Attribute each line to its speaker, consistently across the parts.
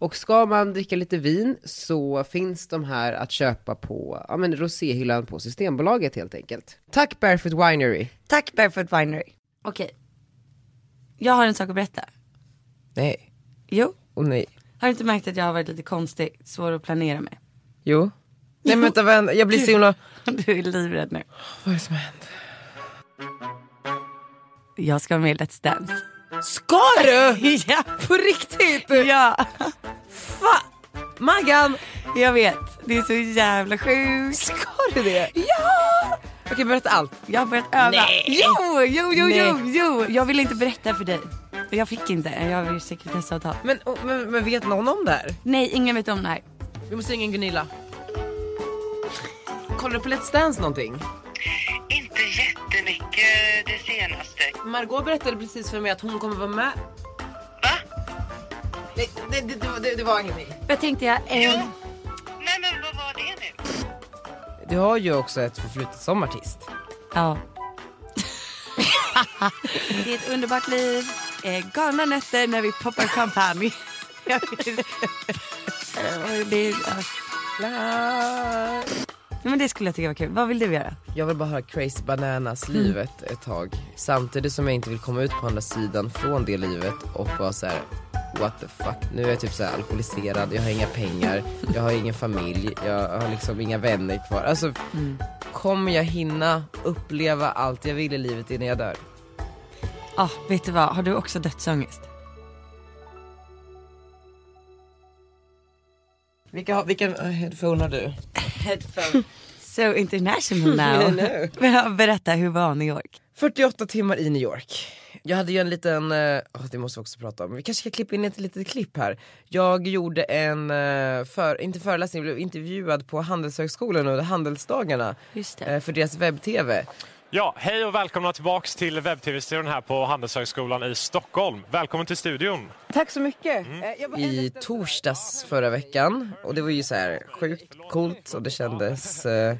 Speaker 1: Och ska man dricka lite vin så finns de här att köpa på ja, men roséhyllan på Systembolaget helt enkelt. Tack Barefoot Winery!
Speaker 2: Tack Barefoot Winery. Okej. Jag har en sak att berätta.
Speaker 1: Nej,
Speaker 2: Jo.
Speaker 1: och nej.
Speaker 2: Har du inte märkt att jag har varit lite konstig, svår att planera med?
Speaker 1: Jo. Nej men vänta, vänta, jag blir så himla...
Speaker 2: Du är livrädd nu.
Speaker 1: Vad är det som har hänt?
Speaker 2: Jag ska vara med i Let's Dance.
Speaker 1: Ska du?
Speaker 2: ja,
Speaker 1: På riktigt?
Speaker 2: ja,
Speaker 1: Fan! Maggan!
Speaker 2: jag vet. Det är så jävla sjukt.
Speaker 1: Ska du det?
Speaker 2: Ja!
Speaker 1: Okej, berätta allt.
Speaker 2: Jag har börjat öva.
Speaker 1: Nej.
Speaker 2: Jo, jo, jo, jo,
Speaker 1: Nej.
Speaker 2: jo. Jag vill inte berätta för dig. Jag fick inte. Jag har ju sekretessavtal.
Speaker 1: Men, och- men, men vet någon om det här?
Speaker 2: Nej, ingen vet om det här.
Speaker 1: Vi måste ringa Gunilla. Kollar du på Let's Dance någonting?
Speaker 3: Inte jättemycket det senaste.
Speaker 1: Margot berättade precis för mig att hon kommer vara med.
Speaker 3: Va?
Speaker 1: Nej, nej det, det, det, det var ingenting.
Speaker 2: Vad tänkte jag? Eh,
Speaker 3: Nej men vad var det nu?
Speaker 1: Du har ju också ett förflutet som artist.
Speaker 2: ja. det är ett underbart liv. Eh, galna nätter när vi poppar champagne. Jag vet. Eh, det, är- ja. Nej, men det skulle jag tycka var kul. Vad vill du göra?
Speaker 1: Jag vill bara ha Crazy Bananas livet ett tag. Samtidigt som jag inte vill komma ut på andra sidan från det livet och vara så här. What the fuck, nu är jag typ så här alkoholiserad, jag har inga pengar, jag har ingen familj, jag har liksom inga vänner kvar. Alltså, kommer jag hinna uppleva allt jag vill i livet innan jag dör?
Speaker 2: Ah, vet du vad? Har du också dödsångest?
Speaker 1: Vilka, vilken eh, headphone har du?
Speaker 2: So international now. Men, Berätta, hur var New York?
Speaker 1: 48 timmar i New York. Jag hade ju en liten, eh, åh, det måste vi också prata om, vi kanske ska klippa in ett litet klipp här. Jag gjorde en, eh, för, inte föreläsning, jag blev intervjuad på Handelshögskolan under Handelsdagarna
Speaker 2: Just det.
Speaker 1: eh, för deras webb-tv.
Speaker 4: Ja, hej och välkomna tillbaks till webb-tv-studion här på Handelshögskolan i Stockholm. Välkommen till studion.
Speaker 5: Tack så mycket.
Speaker 1: Mm.
Speaker 5: Eh,
Speaker 1: I torsdags förra veckan och det var ju så här sjukt coolt och det kändes eh,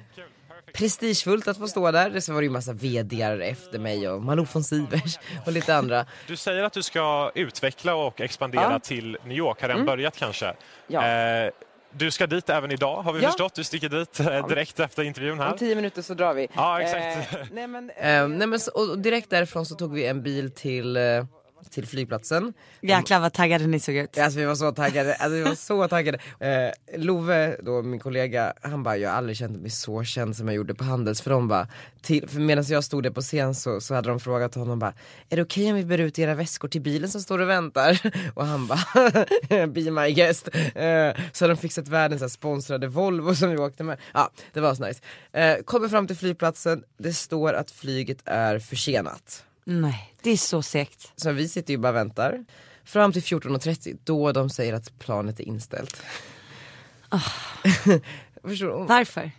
Speaker 1: prestigefullt att få stå där. Sen var det ju massa VDar efter mig och Malou von Sivers och lite andra.
Speaker 4: Du säger att du ska utveckla och expandera
Speaker 5: Ja. Mm.
Speaker 4: till New York. Har den börjat kanske?
Speaker 5: Ja.
Speaker 4: Eh, du ska dit även idag har vi förstått. Du sticker dit eh, direkt efter intervjun här.
Speaker 5: Om tio minuter så drar vi.
Speaker 4: Ja, exakt.
Speaker 5: Eh, nej men, eh,
Speaker 1: Eh, nej men så, och direkt därifrån så tog vi en bil till, eh, till flygplatsen.
Speaker 2: Jäklar vad taggade ni såg ut.
Speaker 1: Alltså vi var så taggade, alltså vi var så taggade. Eh, Love då, min kollega, han bara jag har aldrig känt mig så känd som jag gjorde på Handels för de bara, till, för medan jag stod där på scen så, så hade de frågat honom bara, är det okej om vi bär ut era väskor till bilen som står och väntar? Och han bara, be my guest. Eh, så hade de fixat världens så här sponsrade Volvo som vi åkte med. Ja, det var så nice. Eh, kommer fram till flygplatsen, det står att flyget är försenat.
Speaker 2: Nej, det är så segt.
Speaker 1: Så vi sitter ju bara och väntar. Fram till 14.30 då de säger att planet är inställt. Förstår du?
Speaker 2: Varför?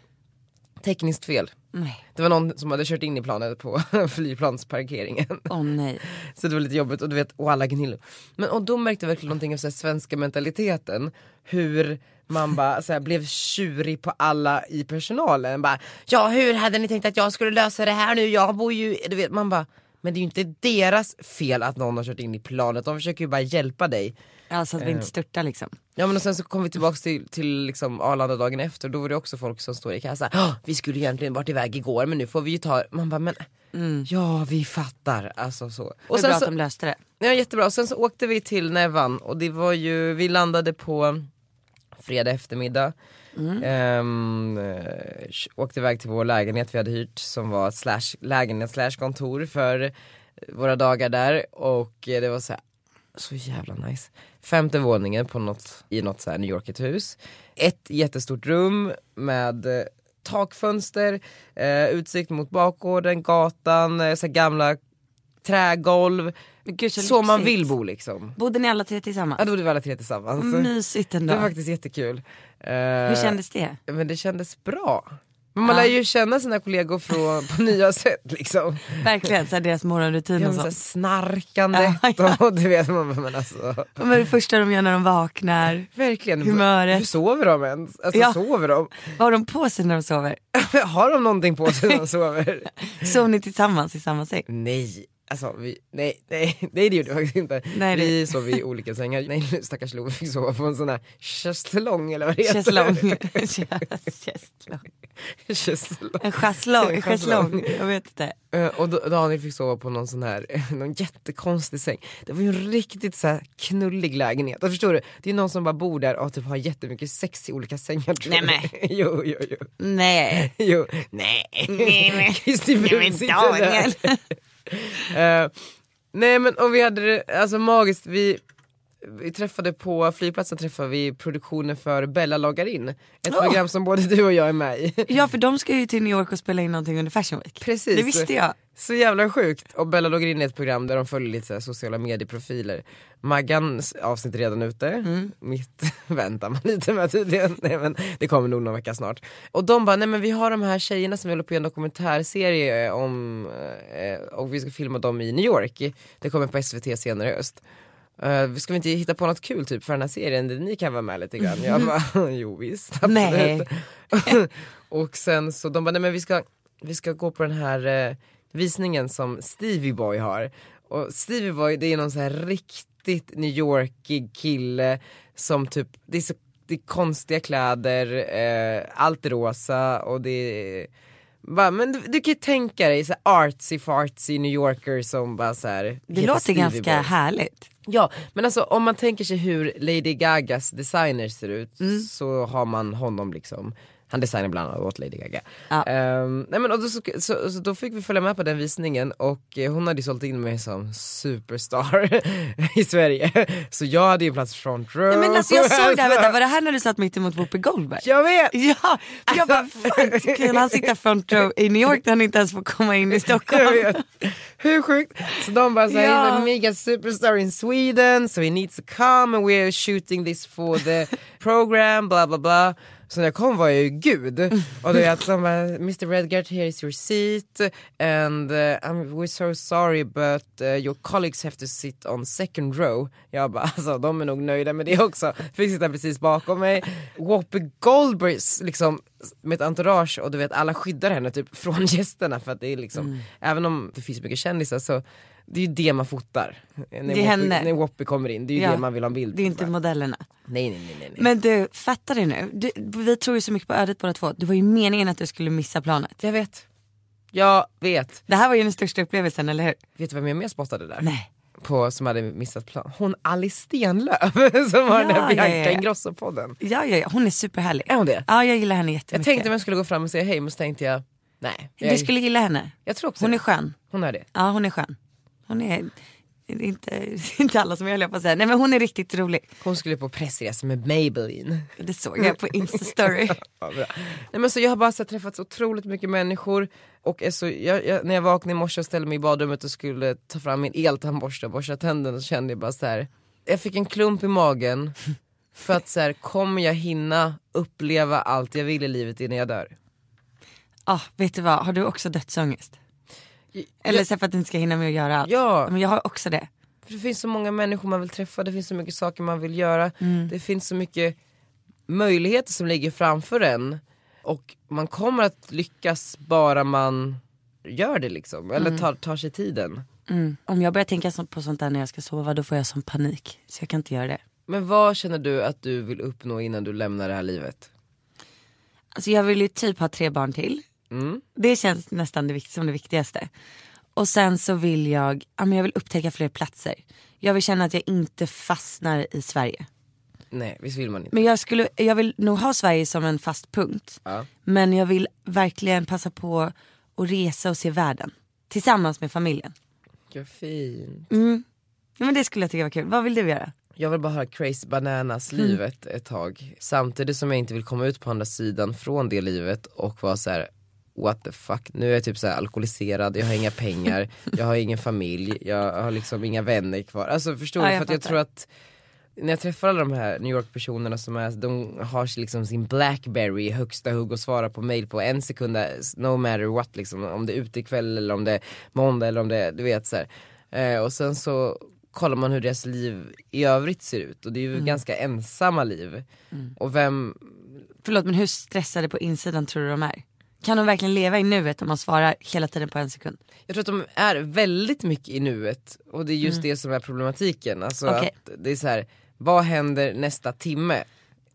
Speaker 1: Tekniskt fel.
Speaker 2: Nej,
Speaker 1: Det var någon som hade kört in i planet på flygplansparkeringen.
Speaker 2: åh nej.
Speaker 1: Så det var lite jobbigt och du vet, och alla gnillor. Men och då märkte jag verkligen någonting av så här, svenska mentaliteten. Hur man bara så här, blev tjurig på alla i personalen. Bara, ja hur hade ni tänkt att jag skulle lösa det här nu? Jag bor ju, du vet man bara. Men det är ju inte deras fel att någon har kört in i planet. De försöker ju bara hjälpa dig.
Speaker 2: Alltså att vi
Speaker 1: Eh.
Speaker 2: inte störtar liksom.
Speaker 1: Ja men och sen så kom vi tillbaks till, till liksom Arlanda dagen efter och då var det också folk som står i kassa. "Åh, Vi skulle ju egentligen varit iväg igår men nu får vi ju ta, man bara men ja vi fattar. Alltså så.
Speaker 2: Och
Speaker 1: Och
Speaker 2: det är bra
Speaker 1: sen så,
Speaker 2: att de löste det.
Speaker 1: ja, jättebra, och sen så åkte vi till Nevan och det var ju, vi landade på fredag eftermiddag.
Speaker 2: Mm.
Speaker 1: Ehm, eh, åkte iväg till vår lägenhet vi hade hyrt som var ett slash, lägenhet slash kontor för våra dagar där och eh, det var så här, så jävla nice. Femte våningen på något, i något så här New Yorkigt hus. Ett jättestort rum med eh, takfönster, eh, utsikt mot bakgården, gatan, eh, så här gamla trägolv,
Speaker 2: Men gud, så
Speaker 1: Så man
Speaker 2: lyxigt.
Speaker 1: vill bo liksom.
Speaker 2: Bodde ni alla tre
Speaker 1: Ja
Speaker 2: tillsammans?
Speaker 1: då bodde vi alla tre tillsammans.
Speaker 2: Mm. Mysigt ändå.
Speaker 1: Det var faktiskt jättekul. Eh,
Speaker 2: Hur kändes det?
Speaker 1: Men det kändes bra. Men man
Speaker 2: Ja.
Speaker 1: lär ju känna sina kollegor från, på nya sätt liksom.
Speaker 2: Verkligen så här, deras morgonrutin
Speaker 1: Ja, men
Speaker 2: och
Speaker 1: så här
Speaker 2: sånt.
Speaker 1: snarkandet
Speaker 2: Ja, ja.
Speaker 1: och du vet man bara, men alltså.
Speaker 2: Vad är det första de gör när de vaknar?
Speaker 1: Verkligen.
Speaker 2: Humöret.
Speaker 1: Hur sover de ens? Alltså
Speaker 2: Ja.
Speaker 1: sover de?
Speaker 2: Vad har de på sig när de sover?
Speaker 1: Har de någonting på sig när de sover?
Speaker 2: Sov ni tillsammans i samma säng?
Speaker 1: nej. Alltså vi, nej, nej, nej det gjorde vi faktiskt inte.
Speaker 2: Nej, det-
Speaker 1: vi sov i olika sängar. Nej stackars Lo fick sova på en sån här schäslong eller vad det heter.
Speaker 2: Schäslong. Schäslong.
Speaker 1: Schäslong.
Speaker 2: En schäslong.
Speaker 1: En
Speaker 2: Schäslong.
Speaker 1: schäslong.
Speaker 2: Jag vet inte.
Speaker 1: Eh, Och då- Daniel fick sova på någon sån här, någon jättekonstig säng. Det var ju en riktigt så här knullig lägenhet. Och förstår du, det är någon som bara bor där och typ har jättemycket sex i olika sängar tror jag.
Speaker 2: Nej,
Speaker 1: Jo, jo, jo.
Speaker 2: Nej.
Speaker 1: jo. Nej.
Speaker 2: Nej, men-
Speaker 1: Kristi
Speaker 2: Nej,
Speaker 1: Brun
Speaker 2: men
Speaker 1: sitter
Speaker 2: Daniel.
Speaker 1: där. Eh, nej men och vi hade det, alltså magiskt, vi, vi träffade på flygplatsen träffade vi produktionen för Bella loggar in. Ett program som både du och jag är med i.
Speaker 2: Ja för de ska ju till New York och spela in någonting under Fashion Week.
Speaker 1: Precis.
Speaker 2: Det visste jag.
Speaker 1: Så jävla sjukt. Och Bella loggar in i ett program där de följer lite så här sociala medieprofiler. Maggans avsnitt är redan ute. Mitt väntar man lite med tydligen. Nej, men det kommer nog någon vecka snart. Och de bara, nej men vi har de här tjejerna som vi håller på i en dokumentärserie om eh, och vi ska filma dem i New York. Det kommer på SVT senare i höst. Eh, ska vi inte hitta på något kul typ för den här serien där ni kan vara med lite grann? Jag bara, jo visst absolut.
Speaker 2: Nej.
Speaker 1: och sen så de bara, nej men vi ska, vi ska gå på den här eh, visningen som Stevie Boy har. Och Stevie Boy det är någon så här riktigt New Yorkig kille som typ, det är så det är konstiga kläder, eh, allt är rosa och det är bara, men du, du kan ju tänka dig så här artsy fartsy New Yorker som bara så här,
Speaker 2: Det
Speaker 1: heter
Speaker 2: låter
Speaker 1: Stevie
Speaker 2: ganska
Speaker 1: Boy.
Speaker 2: härligt.
Speaker 1: Ja, men alltså om man tänker sig hur Lady Gagas designer ser ut
Speaker 2: Mm.
Speaker 1: så har man honom liksom. Han designar bland annat åt Lady Gaga.
Speaker 2: Ja.
Speaker 1: Ehm, nej men, och då, så, så, så, då fick vi följa med på den visningen och eh, hon hade ju sålt in mig som superstar i Sverige. Så jag hade ju en plats front row.
Speaker 2: Nej, men alltså, jag såg det här,
Speaker 1: Alltså,
Speaker 2: vänta, var det här när du satt mitt emot Whoopi Goldberg?
Speaker 1: Jag vet!
Speaker 2: Ja, för jag bara fan kan han sitta front row i New York när han inte ens får komma in i
Speaker 1: Jag
Speaker 2: Stockholm?
Speaker 1: vet. Hur sjukt? Så de bara såhär,
Speaker 2: Ja.
Speaker 1: he's a alltså, mega superstar in Sweden, so he needs to come and we're shooting this for the program, bla bla bla. Så när jag kom var jag ju gud. Och då är att de bara, Mr Redgert here is your seat and uh, I'm, we're so sorry but uh, your colleagues have to sit on second row. Jag bara alltså de är nog nöjda med det också. Fick sitta precis bakom mig. Whoopi Goldberg s- liksom med ett entourage och du vet alla skyddar henne typ från gästerna för att det är liksom, även om det finns mycket kändisar så det är ju det man fotar. När Whoopi-
Speaker 2: henne.
Speaker 1: När Whoopi kommer in, det är ju
Speaker 2: Ja.
Speaker 1: det man vill ha en bild
Speaker 2: Det är
Speaker 1: på.
Speaker 2: inte modellerna.
Speaker 1: Nej nej nej nej. nej.
Speaker 2: Men du, fattar du nu? Du, vi tror ju så mycket på ödet båda två. Det var ju meningen att du skulle missa planet.
Speaker 1: Jag vet. Jag vet.
Speaker 2: Det här var ju den största upplevelsen, eller hur?
Speaker 1: Vet du vem jag mer spottade där?
Speaker 2: Nej.
Speaker 1: På, som hade missat plan? Hon Alice Stenlöf som har den
Speaker 2: Ja, ja,
Speaker 1: här Bianca
Speaker 2: ja, ja.
Speaker 1: Ingrosso-podden.
Speaker 2: Ja, ja, ja. hon är superhärlig.
Speaker 1: Är hon det?
Speaker 2: Ja, jag gillar henne
Speaker 1: Jag
Speaker 2: jättemycket.
Speaker 1: tänkte om jag skulle gå fram och säga hej men så tänkte jag nej. Jag,
Speaker 2: Du skulle gilla henne.
Speaker 1: jag tror också
Speaker 2: Hon
Speaker 1: det.
Speaker 2: är skön.
Speaker 1: Hon är det.
Speaker 2: Ja, hon är skön. Hon är... det är Inte, inte alla som jag höll på att säga. Nej men hon är riktigt rolig.
Speaker 1: Hon skulle på pressresa med Maybelline.
Speaker 2: Det såg jag på Insta-story.
Speaker 1: Ja, bra. Nej, men så jag har bara så här, träffat så otroligt mycket människor och är så, jag, jag, när jag vaknade i morse och ställde mig i badrummet och skulle ta fram min eltandborste och borsta tänderna så kände jag bara så här. jag fick en klump i magen för att så här, kommer jag hinna uppleva allt jag vill i livet innan jag dör?
Speaker 2: Ah, vet du vad, har du också dödsångest? Eller så här för att du inte ska hinna med att göra allt.
Speaker 1: Ja.
Speaker 2: Men jag har också det.
Speaker 1: För det finns så många människor man vill träffa, det finns så mycket saker man vill göra. Det finns så mycket möjligheter som ligger framför en. Och man kommer att lyckas bara man gör det liksom, eller tar, tar sig tiden.
Speaker 2: Om jag börjar tänka så- på sånt där när jag ska sova då får jag sån panik. Så jag kan inte göra det.
Speaker 1: Men vad känner du att du vill uppnå innan du lämnar det här livet?
Speaker 2: Alltså jag vill ju typ ha tre barn till. Det känns nästan det, vikt- som det viktigaste. Och sen så vill jag, ja, men jag vill upptäcka fler platser. Jag vill känna att jag inte fastnar i Sverige.
Speaker 1: Nej, visst vill man inte?
Speaker 2: Men jag, skulle, jag vill nog ha Sverige som en fast punkt.
Speaker 1: Ja.
Speaker 2: Men jag vill verkligen passa på att resa och se världen. Tillsammans med familjen.
Speaker 1: Gud, fint.
Speaker 2: Ja, men det skulle jag tycka var kul. Vad vill du göra?
Speaker 1: Jag vill bara ha crazy bananas
Speaker 2: Mm.
Speaker 1: livet ett tag. Samtidigt som jag inte vill komma ut på andra sidan från det livet och vara så här. what the fuck, nu är jag typ så här alkoholiserad, jag har inga pengar, jag har ingen familj, jag har liksom inga vänner kvar. Alltså förstår
Speaker 2: Ja,
Speaker 1: du?
Speaker 2: jag
Speaker 1: För att jag
Speaker 2: fattar.
Speaker 1: tror att när jag träffar alla de här New York personerna som är, de har liksom sin Blackberry i högsta hugg och svarar på mail på en sekund, no matter what liksom, om det är ute ikväll eller om det är måndag eller om det är, du vet så här. Eh, och sen så kollar man hur deras liv i övrigt ser ut och det är ju ganska ensamma liv. Och vem,
Speaker 2: Förlåt men hur stressade på insidan tror du de är? Kan de verkligen leva i nuet om man svarar hela tiden på en sekund?
Speaker 1: Jag tror att de är väldigt mycket i nuet och det är just det som är problematiken. Alltså
Speaker 2: Okej.
Speaker 1: att det är så här, vad händer nästa timme?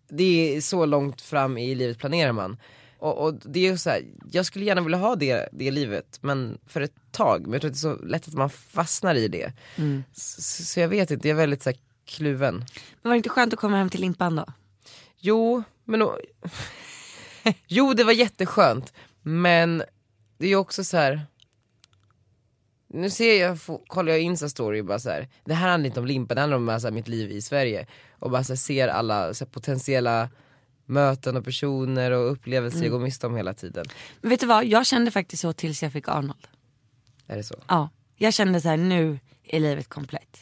Speaker 1: Det är så långt fram i livet planerar man. Och, och det är ju så här, jag skulle gärna vilja ha det, det livet men för ett tag. Men jag tror att det är så lätt att man fastnar i det. Så, så jag vet inte, jag är väldigt så här, kluven.
Speaker 2: Men var det inte skönt att komma hem till limpan då?
Speaker 1: Jo, men o- Jo, det var jätteskönt. Men det är ju också så här. Nu ser jag, får- kollar jag Insta-story och bara så här. Det här handlar inte om limpa, det handlar om alltså, mitt liv i Sverige. Och bara så här, ser alla så här, potentiella möten och personer och upplevelser jag går miste om hela tiden.
Speaker 2: Men vet du vad, jag kände faktiskt så tills jag fick Arnold.
Speaker 1: Är det så?
Speaker 2: Ja, jag kände så här nu är livet komplett.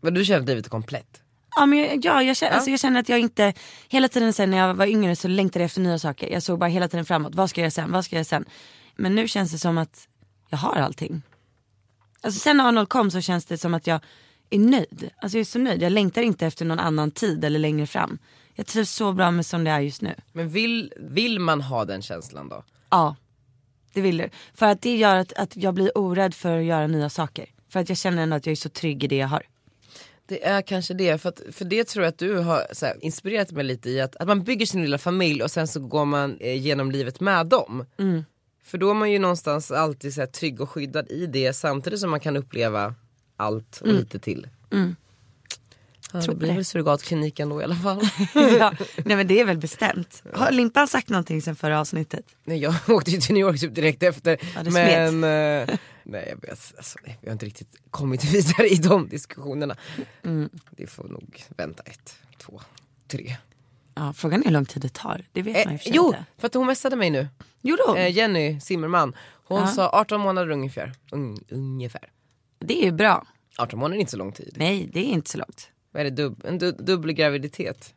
Speaker 1: Men du känner att livet är komplett?
Speaker 2: Ja, men jag, ja, jag, känner, Alltså, jag känner att jag inte, hela tiden sen när jag var yngre så längtade jag efter nya saker. Jag såg bara hela tiden framåt, vad ska jag göra sen, vad ska jag göra sen. Men nu känns det som att jag har allting. Alltså sen när Arnold kom så känns det som att jag är nöjd. Alltså jag är så nöjd, jag längtar inte efter någon annan tid eller längre fram. Jag trivs så bra med som det är just nu.
Speaker 1: Men vill, vill man ha den känslan då?
Speaker 2: Ja, det vill du. För att det gör att, att jag blir orädd för att göra nya saker. För att jag känner ändå att jag är så trygg i det jag har.
Speaker 1: Det är kanske det, för, att, för det tror jag att du har så här, inspirerat mig lite i att, att man bygger sin lilla familj och sen så går man eh, genom livet med dem.
Speaker 2: Mm.
Speaker 1: För då är man ju någonstans alltid så här, trygg och skyddad i det samtidigt som man kan uppleva allt och
Speaker 2: Mm.
Speaker 1: lite till. Ja, det
Speaker 2: Tror
Speaker 1: blir
Speaker 2: det.
Speaker 1: väl surrogatkliniken då i alla fall.
Speaker 2: ja, nej men det är väl bestämt. Har Limpan sagt någonting sen förra avsnittet?
Speaker 1: nej, jag åkte ju till New York typ direkt efter.
Speaker 2: Ja, det smet.
Speaker 1: men eh, nej, jag, vet- alltså, nej, vi har inte riktigt kommit vidare i de diskussionerna.
Speaker 2: Mm.
Speaker 1: Det får nog vänta ett, två, tre.
Speaker 2: Ja, frågan är hur lång tid det tar. Det vet man
Speaker 1: Eh,
Speaker 2: ju för sig
Speaker 1: jo,
Speaker 2: inte.
Speaker 1: för att hon messade mig nu.
Speaker 2: Jo då,
Speaker 1: Eh, Jenny Zimmerman. Hon
Speaker 2: Ja.
Speaker 1: sa 18 månader ungefär. Un, ungefär.
Speaker 2: det är ju bra.
Speaker 1: 18 månader är inte så lång tid.
Speaker 2: Nej, det är inte så långt.
Speaker 1: Vad är det? Dub, en du, dubbel graviditet.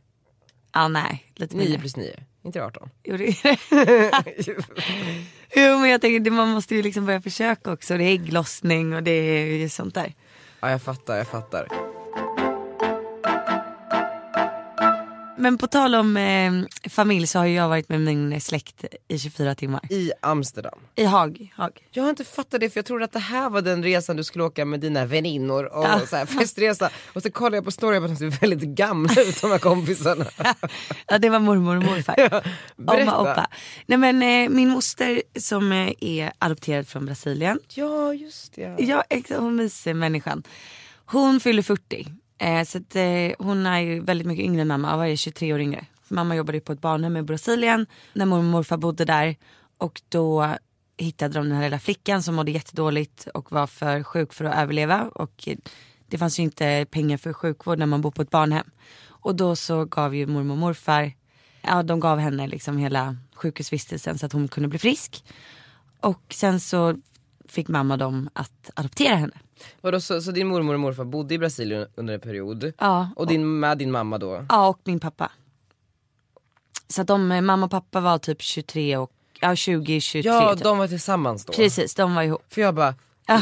Speaker 2: Ja, nej. Lite
Speaker 1: 9
Speaker 2: mindre.
Speaker 1: plus 9. Inte 18.
Speaker 2: Jo, det är det. jo, men jag tänker det- man måste ju liksom börja försöka också. Det är ägglossning och det är ju sånt där.
Speaker 1: ja jag fattar, jag fattar.
Speaker 2: Men på tal om eh, familj så har ju jag varit med min släkt i 24 timmar.
Speaker 1: I Amsterdam.
Speaker 2: I Haag. Haag.
Speaker 1: Jag har inte fattat det för jag trodde att det här var den resan du skulle åka med dina väninnor och så här festresa. Och så kollade jag på story och bara, de ser väldigt gamla ut de här kompisarna.
Speaker 2: Ja, det var mormor och morfar. Omma
Speaker 1: berätta.
Speaker 2: och oppa. Nej men eh, min moster som eh, är adopterad från Brasilien.
Speaker 1: Ja just det.
Speaker 2: Ja, exakt. Hon mysig människan. Hon fyller 40. Eh, så att, eh, hon är ju väldigt mycket yngre än mamma. Vad är det, 23 år yngre? För mamma jobbade ju på ett barnhem i Brasilien när mormor och morfar bodde där. Och då hittade de den här lilla flickan som mådde jättedåligt och var för sjuk för att överleva. Och eh, det fanns ju inte pengar för sjukvård när man bor på ett barnhem. Och då så gav ju mormor och morfar, ja de gav henne liksom hela sjukhusvistelsen så att hon kunde bli frisk. Och sen så fick mamma dem att adoptera henne.
Speaker 1: Vadå, så, så din mormor och morfar bodde i Brasilien under en period.
Speaker 2: Ja,
Speaker 1: Och din, med din mamma då?
Speaker 2: Ja och min pappa. Så att de, eh, mamma och pappa var typ 23 och, ja 20, 23
Speaker 1: Ja
Speaker 2: typ.
Speaker 1: de var tillsammans då.
Speaker 2: Precis, de var ihop.
Speaker 1: För jag bara,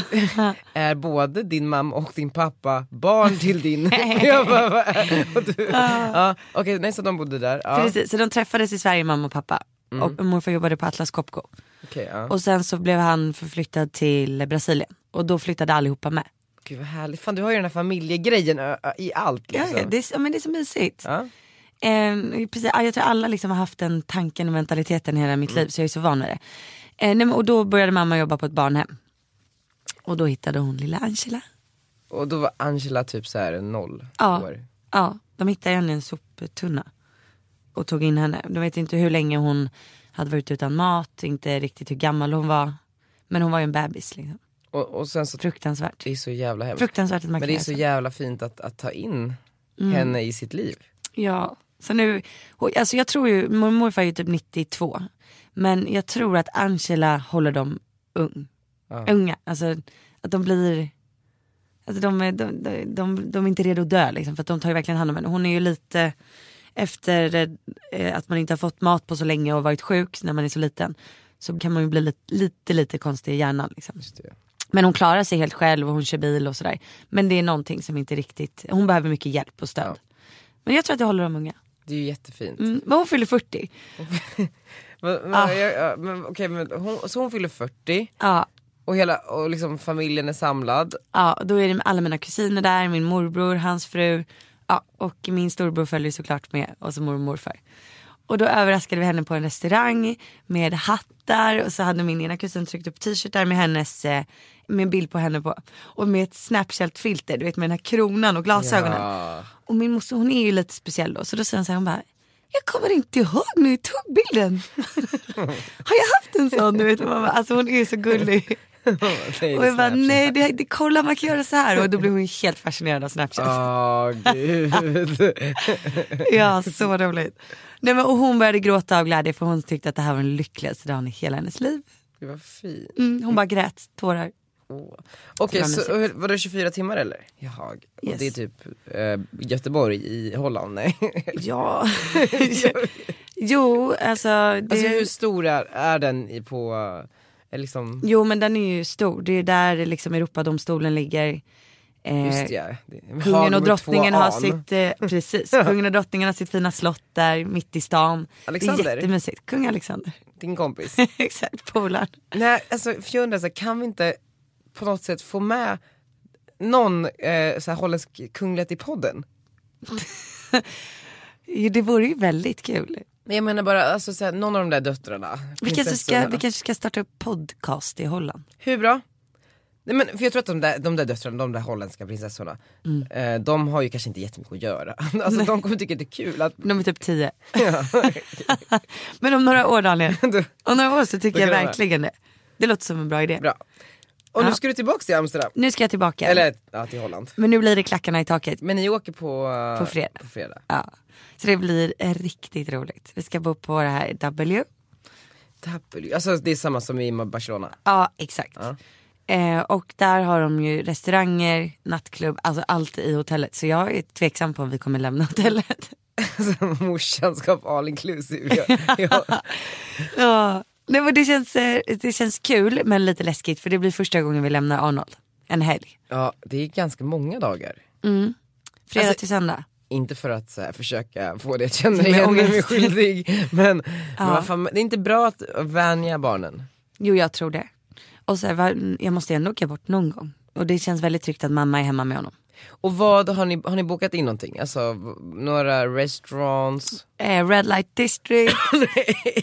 Speaker 1: är både din mamma och din pappa barn till din? jag bara, vad är- och du, ja, Okej, nej så de bodde där. Ja,
Speaker 2: Precis, så de träffades i Sverige mamma och pappa. Och morfar jobbade på Atlas Copco.
Speaker 1: Okej, ja.
Speaker 2: Och sen så blev han förflyttad till Brasilien. Och då flyttade allihopa med.
Speaker 1: Gud vad härligt, fan du har ju den här familjegrejen ö, ö, i allt
Speaker 2: Ja,
Speaker 1: liksom.
Speaker 2: ja, det, är, så- ja, men det är så mysigt.
Speaker 1: Ja.
Speaker 2: Eh, precis, ja, jag tror alla liksom har haft den tanken och mentaliteten hela mitt
Speaker 1: Mm.
Speaker 2: liv så jag är så van vid det. Eh, nej, men, och då började mamma jobba på ett barnhem. Och då hittade hon lilla Angela.
Speaker 1: Och då var Angela typ så här noll
Speaker 2: Ja,
Speaker 1: år.
Speaker 2: ja, de hittade henne i en soptunna. Och tog in henne. De vet inte hur länge hon hade varit utan mat, inte riktigt hur gammal hon var. Men hon var ju en bebis liksom.
Speaker 1: Och, och sen så,
Speaker 2: Fruktansvärt.
Speaker 1: det är så jävla hemskt.
Speaker 2: Fruktansvärt att man
Speaker 1: Men
Speaker 2: kan
Speaker 1: det är
Speaker 2: göra
Speaker 1: så
Speaker 2: så.
Speaker 1: jävla fint att, att ta in henne i sitt liv.
Speaker 2: Ja, så nu, och, alltså jag tror ju, mormor är ju typ 92. Men jag tror att Angela håller dem ung.
Speaker 1: Ja.
Speaker 2: unga. Alltså att de blir, alltså de, är, de, de, de, de är inte redo att dö liksom, för att de tar ju verkligen hand om henne. Hon är ju lite efter eh, att man inte har fått mat på så länge och varit sjuk när man är så liten. Så kan man ju bli lite, lite, lite konstig i hjärnan liksom.
Speaker 1: Just det.
Speaker 2: Men hon klarar sig helt själv och hon kör bil och sådär. Men det är någonting som inte riktigt, hon behöver mycket hjälp och stöd. Men jag tror att jag håller dem unga.
Speaker 1: Det är ju jättefint.
Speaker 2: Mm, men hon fyller 40.
Speaker 1: Men, men,
Speaker 2: Ah.
Speaker 1: jag, jag- men, okej, men hon, så hon fyller 40
Speaker 2: Ja,
Speaker 1: och hela och liksom familjen är samlad.
Speaker 2: Ja, och då är det alla mina kusiner där, min morbror, hans fru ja, och min storbror följer såklart med och så mormor och morfar. Och då överraskade vi henne på en restaurang med hattar och så hade min ena kusin tryckt upp t-shirtar med hennes eh, med en bild på henne på och med ett snapchat-filter, du vet med den här kronan och glasögonen.
Speaker 1: Ja.
Speaker 2: Och min moster hon är ju lite speciell då så då säger hon så här, hon bara jag kommer inte ihåg när jag tog bilden. Har jag haft en sån? Du vet, mamma? Alltså hon är ju så gullig.
Speaker 1: Nej,
Speaker 2: Och jag bara
Speaker 1: Snapchat.
Speaker 2: nej, det, det, kolla man kan göra så här. Och då blev hon ju helt fascinerad av Snapchat.
Speaker 1: Åh gud.
Speaker 2: Ja, så roligt. Nej, men, och hon började gråta av glädje för hon tyckte att det här var den lyckligaste dagen i hela hennes liv.
Speaker 1: Gud vad fint.
Speaker 2: Mm, hon bara grät tårar.
Speaker 1: Åh. Okej,
Speaker 2: Det var
Speaker 1: så
Speaker 2: mysigt.
Speaker 1: hur- vadå 24 timmar eller? Jaha, och
Speaker 2: Yes.
Speaker 1: det är typ eh, Göteborg i Holland? Nej.
Speaker 2: Ja. jo, alltså. Det...
Speaker 1: Alltså hur stor är, är den i på, eh, liksom,
Speaker 2: Jo, men den är ju stor. Det är där liksom Europadomstolen ligger. Eh,
Speaker 1: just ja. det- Haag
Speaker 2: Kungen
Speaker 1: nummer
Speaker 2: och
Speaker 1: två
Speaker 2: drottningen har
Speaker 1: an.
Speaker 2: sitt, eh, precis, kungen och drottningen har sitt fina slott där mitt i stan. Det
Speaker 1: Alexander?
Speaker 2: är jättemysigt. Kung Alexander.
Speaker 1: Din kompis.
Speaker 2: Exakt, polaren.
Speaker 1: Nej, alltså för jag undrar, så här, kan vi inte på något sätt få med någon eh, så här, holländsk kunglighet i podden?
Speaker 2: Jo, Det vore ju väldigt kul.
Speaker 1: Men jag menar bara, alltså, så här, någon av de där döttrarna.
Speaker 2: Vi kanske, ska,
Speaker 1: prinsessorna.
Speaker 2: vi kanske ska starta upp podcast i Holland.
Speaker 1: Hur bra? Nej, men, för jag tror att de där, de där döttrarna, de där holländska prinsessorna,
Speaker 2: Mm.
Speaker 1: eh, de har ju kanske inte jättemycket att göra. Alltså de kommer tycka det är kul att
Speaker 2: De är typ tio. Men om några år Daniel,
Speaker 1: du,
Speaker 2: om några år så tycker
Speaker 1: Då
Speaker 2: jag
Speaker 1: kan det
Speaker 2: verkligen det. Det låter som en bra idé.
Speaker 1: bra. Och nu
Speaker 2: Ja.
Speaker 1: ska du tillbaka till Amsterdam.
Speaker 2: Nu ska jag tillbaka.
Speaker 1: Eller ja, till Holland.
Speaker 2: Men nu blir det klackarna i taket.
Speaker 1: Men ni åker på, eh,
Speaker 2: På fredag.
Speaker 1: på fredag.
Speaker 2: Ja. Så det blir eh, riktigt roligt. Vi ska bo på det här W.
Speaker 1: Tapul- Alltså det är samma som i Barcelona.
Speaker 2: Ja exakt. Eh, och där har de ju restauranger, nattklubb, alltså allt i hotellet. Så jag är tveksam på om vi kommer lämna hotellet.
Speaker 1: Alltså, morsan ska ha all inclusive. Jag, jag,
Speaker 2: Ja, nej, men det, känns, eh, det känns kul men lite läskigt för det blir första gången vi lämnar Arnold. En helg.
Speaker 1: ja, det är ganska många dagar.
Speaker 2: Fredag
Speaker 1: Alltså-
Speaker 2: till söndag.
Speaker 1: Inte för att så här, försöka få det att känna
Speaker 2: Med
Speaker 1: igen mig
Speaker 2: ångest.
Speaker 1: mig skyldig. Men, men
Speaker 2: Ja.
Speaker 1: vad fan, det är inte bra att vänja barnen.
Speaker 2: Jo jag tror det. Och så här, va- jag måste ändå åka bort någon gång. Och det känns väldigt tryggt att mamma är hemma med honom.
Speaker 1: Och vad har ni, har ni bokat in någonting? Alltså v- några restaurants?
Speaker 2: Eh, Red light district.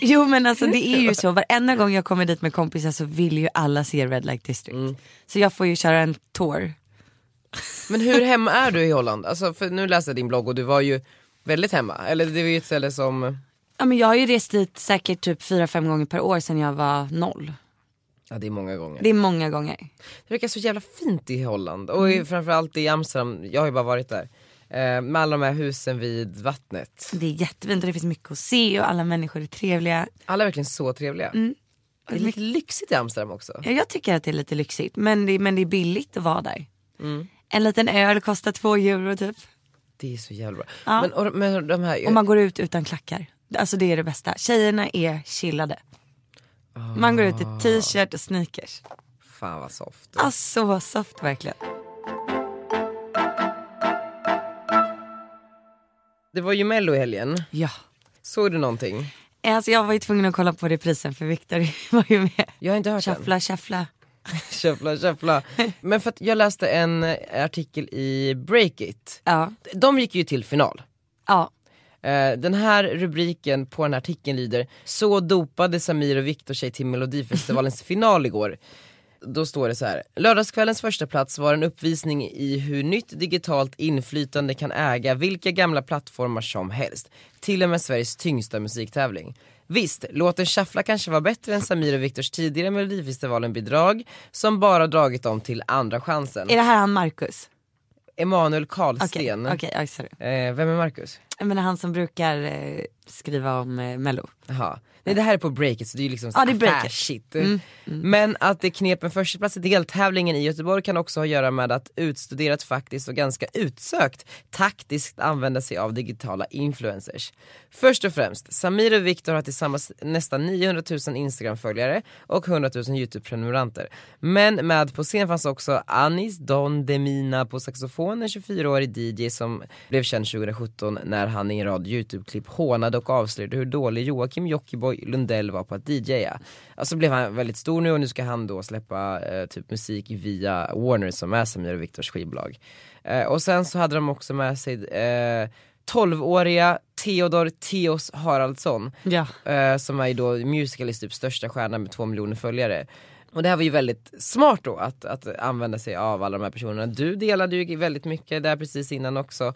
Speaker 2: jo men alltså det är ju så, varenda gång jag kommer dit med kompisar så vill ju alla se Red light district. Så jag får ju köra en tour.
Speaker 1: Men hur hemma är du i Holland? Alltså för nu läste jag din blogg och du var ju väldigt hemma. Eller det var ju ett ställe som,
Speaker 2: Ja, men jag har ju rest dit säkert typ 4-5 gånger per år sedan jag var noll.
Speaker 1: ja det är många gånger.
Speaker 2: Det är många gånger.
Speaker 1: Det verkar så jävla fint i Holland och
Speaker 2: Mm.
Speaker 1: i, framförallt i Amsterdam, jag har ju bara varit där. Eh, med alla de här husen vid vattnet.
Speaker 2: Det är jättefint och det finns mycket att se och alla människor är trevliga.
Speaker 1: Alla är verkligen så trevliga.
Speaker 2: Mm.
Speaker 1: Det är lite lyxigt i Amsterdam också.
Speaker 2: Ja, Jag tycker att det är lite lyxigt men det, men det är billigt att vara där. En liten öl kostar två euro typ.
Speaker 1: Det är så jävla bra.
Speaker 2: Ja.
Speaker 1: Men, och, men de här,
Speaker 2: Och man går ut utan klackar. Alltså det är det bästa. Tjejerna är chillade. Man går ut i t-shirt och sneakers.
Speaker 1: fan vad soft.
Speaker 2: Alltså vad soft verkligen.
Speaker 1: Det var ju mello i helgen,
Speaker 2: Ja.
Speaker 1: såg du någonting?
Speaker 2: Alltså jag var ju tvungen att kolla på reprisen för Victor var ju med.
Speaker 1: Jag har inte hört den.
Speaker 2: Shuffla, shuffla.
Speaker 1: Shuffla, shuffla. Men för att jag läste en eh, artikel i Breakit.
Speaker 2: Ja.
Speaker 1: De gick ju till final.
Speaker 2: Ja.
Speaker 1: Eh, Den här rubriken på den här artikeln lyder Så dopade Samir och Viktor sig till melodifestivalens final igår. Då står det så här. Lördagskvällens första plats var en uppvisning i hur nytt digitalt inflytande kan äga vilka gamla plattformar som helst. Till och med Sveriges tyngsta musiktävling. Visst, låten Shuffla kanske var bättre än Samir och Viktors tidigare Melodifestivalen-bidrag som bara dragit dem till andra chansen.
Speaker 2: Är det här han Marcus?
Speaker 1: Emanuel
Speaker 2: Okej,
Speaker 1: Karlsten.
Speaker 2: okej, okay, sorry.
Speaker 1: Eh, vem är Marcus?
Speaker 2: jag menar han som brukar eh, skriva om eh, mello.
Speaker 1: Jaha. Nej det här är på breaket så det är ju liksom
Speaker 2: Ja, det är breaket. Mm.
Speaker 1: affärsshit. Men att det knep en förstaplats i deltävlingen i Göteborg kan också ha att göra med att utstuderat faktiskt och ganska utsökt taktiskt använda sig av digitala influencers. Först och främst, Samir och Viktor har tillsammans nästan 900 000 Instagram-följare och 100 000 YouTube-prenumeranter. Men med på scen fanns också Anis Don Demina på saxofon, en 24-årig DJ som blev känd 2017 när han i en rad YouTube-klipp hånade och avslöjade hur dålig Joakim Jockiboi Lundell var på att DJa. Alltså blev han väldigt stor nu och nu ska han då släppa eh, typ musik via Warner som är Samir och Viktors skivbolag. Eh, och sen så hade de också med sig eh, 12-åriga Theodor Theos Haraldsson
Speaker 2: Ja.
Speaker 1: eh, som är ju då Musicalys typ största stjärna med två miljoner följare. Och det här var ju väldigt smart då att, att använda sig av alla de här personerna. Du delade ju väldigt mycket där precis innan också.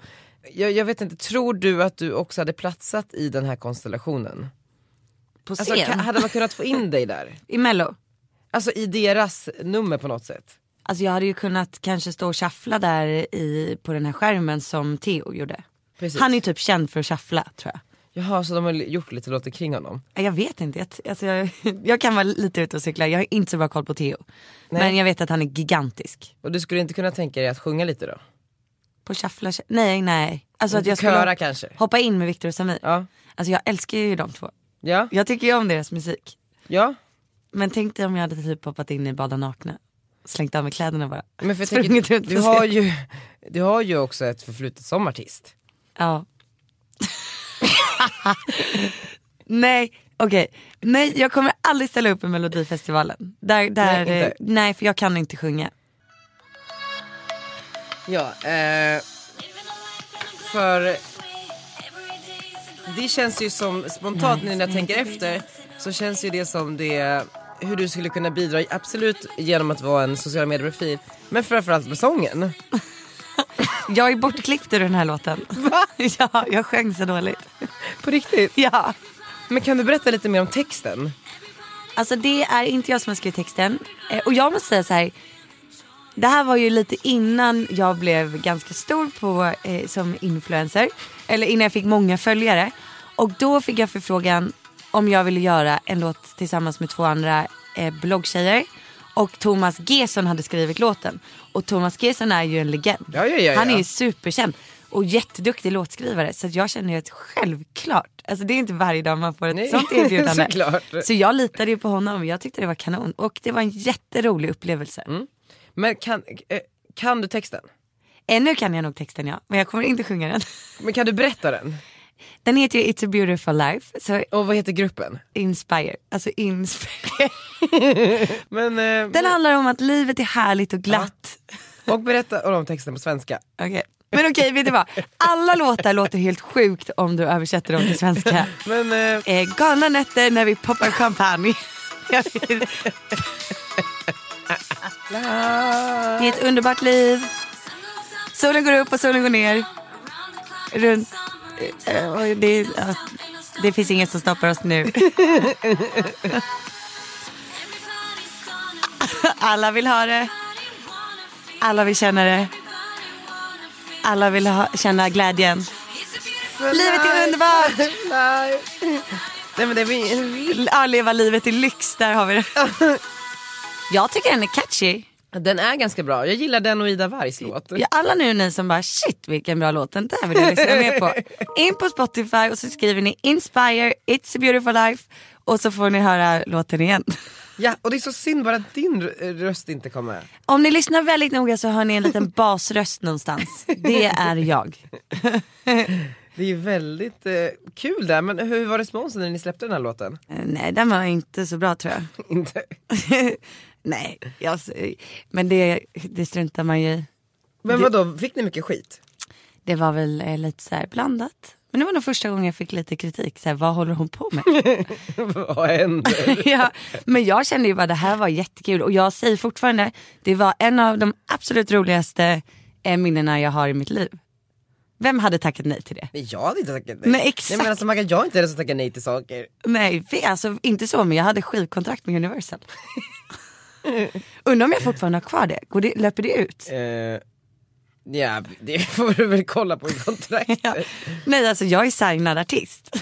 Speaker 1: Jag, jag vet inte, tror du att du också hade platsat i den här konstellationen?
Speaker 2: På scen?
Speaker 1: Alltså, kan, hade man kunnat få in dig där?
Speaker 2: I mello?
Speaker 1: Alltså i deras nummer på något sätt?
Speaker 2: Alltså jag hade ju kunnat kanske stå och shuffla där i, på den här skärmen som Theo gjorde.
Speaker 1: Precis.
Speaker 2: Han är ju typ känd för att shuffla tror jag.
Speaker 1: Jaha, så de har gjort lite låtar kring honom?
Speaker 2: Ja, Jag vet inte, jag, t- alltså jag, jag kan vara lite ute och cykla, jag har inte så bra koll på Theo. Men jag vet att han är gigantisk.
Speaker 1: Och du skulle inte kunna tänka dig att sjunga lite då?
Speaker 2: På shuffla, nej nej. Alltså att jag skulle
Speaker 1: Köra kanske?
Speaker 2: hoppa in med Victor och Samir.
Speaker 1: Ja.
Speaker 2: Alltså jag älskar ju de två.
Speaker 1: Ja?
Speaker 2: Jag tycker ju om deras musik.
Speaker 1: Ja?
Speaker 2: Men tänk dig om jag hade typ hoppat in i Bada nakna. Slängt av mig kläderna bara.
Speaker 1: Men för jag
Speaker 2: Sprungit
Speaker 1: tänker,
Speaker 2: runt på
Speaker 1: du, har
Speaker 2: scen.
Speaker 1: ju, du har ju också ett förflutet som artist.
Speaker 2: Ja. nej, okej. Nej, jag kommer aldrig ställa upp i Melodifestivalen. Där, där,
Speaker 1: Nej,
Speaker 2: nej,
Speaker 1: inte.
Speaker 2: nej, för jag kan inte sjunga.
Speaker 1: Ja, eh, för det känns ju som, spontant nu när jag tänker efter, så känns ju det som det hur du skulle kunna bidra, absolut genom att vara en social medieprofil, men framförallt med sången.
Speaker 2: Jag är bortklippt ur den här låten.
Speaker 1: Va?
Speaker 2: ja, jag sjöng så dåligt.
Speaker 1: På riktigt.
Speaker 2: Ja.
Speaker 1: Men kan du berätta lite mer om texten?
Speaker 2: Alltså det är inte jag som har skrivit texten. Eh, Och jag måste säga så här. Det här var ju lite innan jag blev ganska stor på, eh, som influencer. Eller innan jag fick många följare. Och då fick jag förfrågan om jag ville göra en låt tillsammans med två andra eh, bloggtjejer. Och Thomas Gesson hade skrivit låten. Och Thomas Gesson är ju en legend.
Speaker 1: Ja, ja, ja,
Speaker 2: Han är
Speaker 1: ja.
Speaker 2: ju superkänd. Och jätteduktig låtskrivare. Så att jag känner ju att självklart. Alltså det är inte varje dag man får ett
Speaker 1: Nej,
Speaker 2: sånt erbjudande.
Speaker 1: såklart.
Speaker 2: Så jag litade ju på honom, jag tyckte det var kanon och det var en jätterolig upplevelse.
Speaker 1: Mm. Men kan, eh, kan du texten?
Speaker 2: Ännu kan jag nog texten ja, men jag kommer inte sjunga den.
Speaker 1: Men kan du berätta den?
Speaker 2: Den heter ju It's a beautiful life, så
Speaker 1: Och vad heter gruppen?
Speaker 2: inspire, alltså inspire.
Speaker 1: Men, eh,
Speaker 2: Den handlar om att livet är härligt och glatt.
Speaker 1: och berätta om texten på svenska.
Speaker 2: Okej. Men okej, vet du vad? Alla låtar låter helt sjukt om du översätter dem till svenska.
Speaker 1: Men eh,
Speaker 2: Eh, galna nätter när vi poppar champagne. Jag vet-
Speaker 1: eh,
Speaker 2: Det är ett underbart liv. Solen går upp och solen går ner. Runt... eh, och Det, ja, det finns inget som stoppar oss nu. Alla vill ha det. Alla vill känna det. Alla vill ha, känna glädjen. Livet är underbart!
Speaker 1: Nej. Nej men det är en
Speaker 2: Ja, leva livet i lyx, där har vi det. Jag tycker den är catchy.
Speaker 1: Den är ganska bra, jag gillar den och Ida Vargs låt.
Speaker 2: Ja, alla nu ni som bara shit vilken bra låt, den där vill jag lyssna mer på. In på Spotify och så skriver ni Inspire, It's a beautiful life och så får ni höra låten igen.
Speaker 1: Ja, och det är så synd bara att din rö- röst inte kom med.
Speaker 2: Om ni lyssnar väldigt noga så hör ni en liten basröst någonstans. Det är jag.
Speaker 1: Det är väldigt eh, kul där, men hur var responsen när ni släppte den här låten?
Speaker 2: Eh, Nej den var inte så bra tror jag.
Speaker 1: Inte.
Speaker 2: Nej, jag, men det, det struntar man ju i.
Speaker 1: Men vadå, fick ni mycket skit?
Speaker 2: Det var väl eh, lite så här blandat. Men det var nog första gången jag fick lite kritik. Så här, vad håller hon på med?
Speaker 1: Vad hände?
Speaker 2: ja, men jag kände ju bara det här var jättekul och jag säger fortfarande det var en av de absolut roligaste eh, minnena jag har i mitt liv. Vem hade tackat nej till det?
Speaker 1: Nej jag hade inte tackat nej.
Speaker 2: Nej, exakt.
Speaker 1: Nej men alltså Maggan, jag är inte den som tackar nej till saker.
Speaker 2: Nej, vi- alltså inte så men jag hade skivkontrakt med Universal. Undrar om jag fortfarande har kvar det? Går det löper det ut?
Speaker 1: Eh, Ja, det får du väl kolla på i kontraktet.
Speaker 2: Ja. Nej alltså jag är signad artist.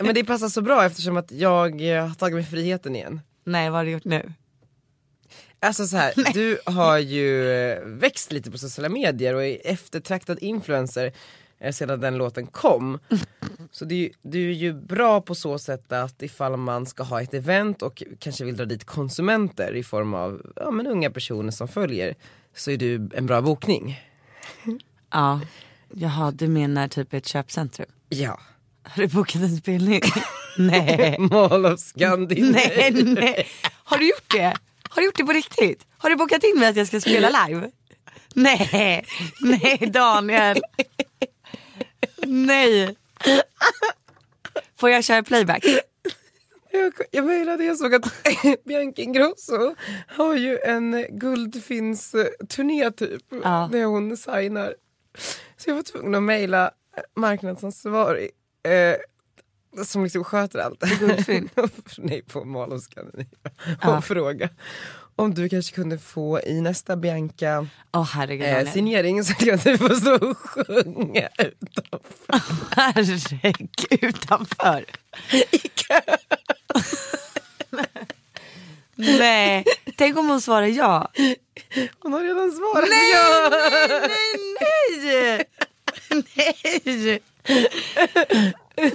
Speaker 1: Men det passar så bra eftersom att jag eh, har tagit mig friheten igen.
Speaker 2: Nej vad har du gjort nu?
Speaker 1: Alltså så här, du har ju eh, växt lite på sociala medier och är eftertraktad influencer eh, sedan den låten kom. Så det är ju, du är ju bra på så sätt att ifall man ska ha ett event och kanske vill dra dit konsumenter i form av ja, men unga personer som följer så är du en bra bokning.
Speaker 2: Ja. Jaha du menar typ ett köpcentrum?
Speaker 1: Ja,
Speaker 2: Har du bokat en spelning? nej.
Speaker 1: Mall of Scandinavia.
Speaker 2: nej, nej. Har du gjort det? Har du gjort det på riktigt? Har du bokat in mig att jag ska spela live? Nej, nej Daniel. Nej. Får jag köra playback?
Speaker 1: Jag, jag mejlade, jag såg att Bianca Ingrosso har ju en guldfinns-turné typ,
Speaker 2: Ja.
Speaker 1: där hon signar. Så jag var tvungen att mejla marknadsansvarig eh, som liksom sköter allt.
Speaker 2: Guldfynd.
Speaker 1: Nej, på Mall of Scandinavia.
Speaker 2: Ja.
Speaker 1: Och fråga om du kanske kunde få i nästa Bianca
Speaker 2: Åh oh, herregud
Speaker 1: eh,
Speaker 2: Daniel.
Speaker 1: signering så kan du få stå och sjunga utanför.
Speaker 2: Herregud utanför. Nej, tänk om hon svarar ja.
Speaker 1: Hon har redan svarat.
Speaker 2: Nej,
Speaker 1: ja.
Speaker 2: nej, nej.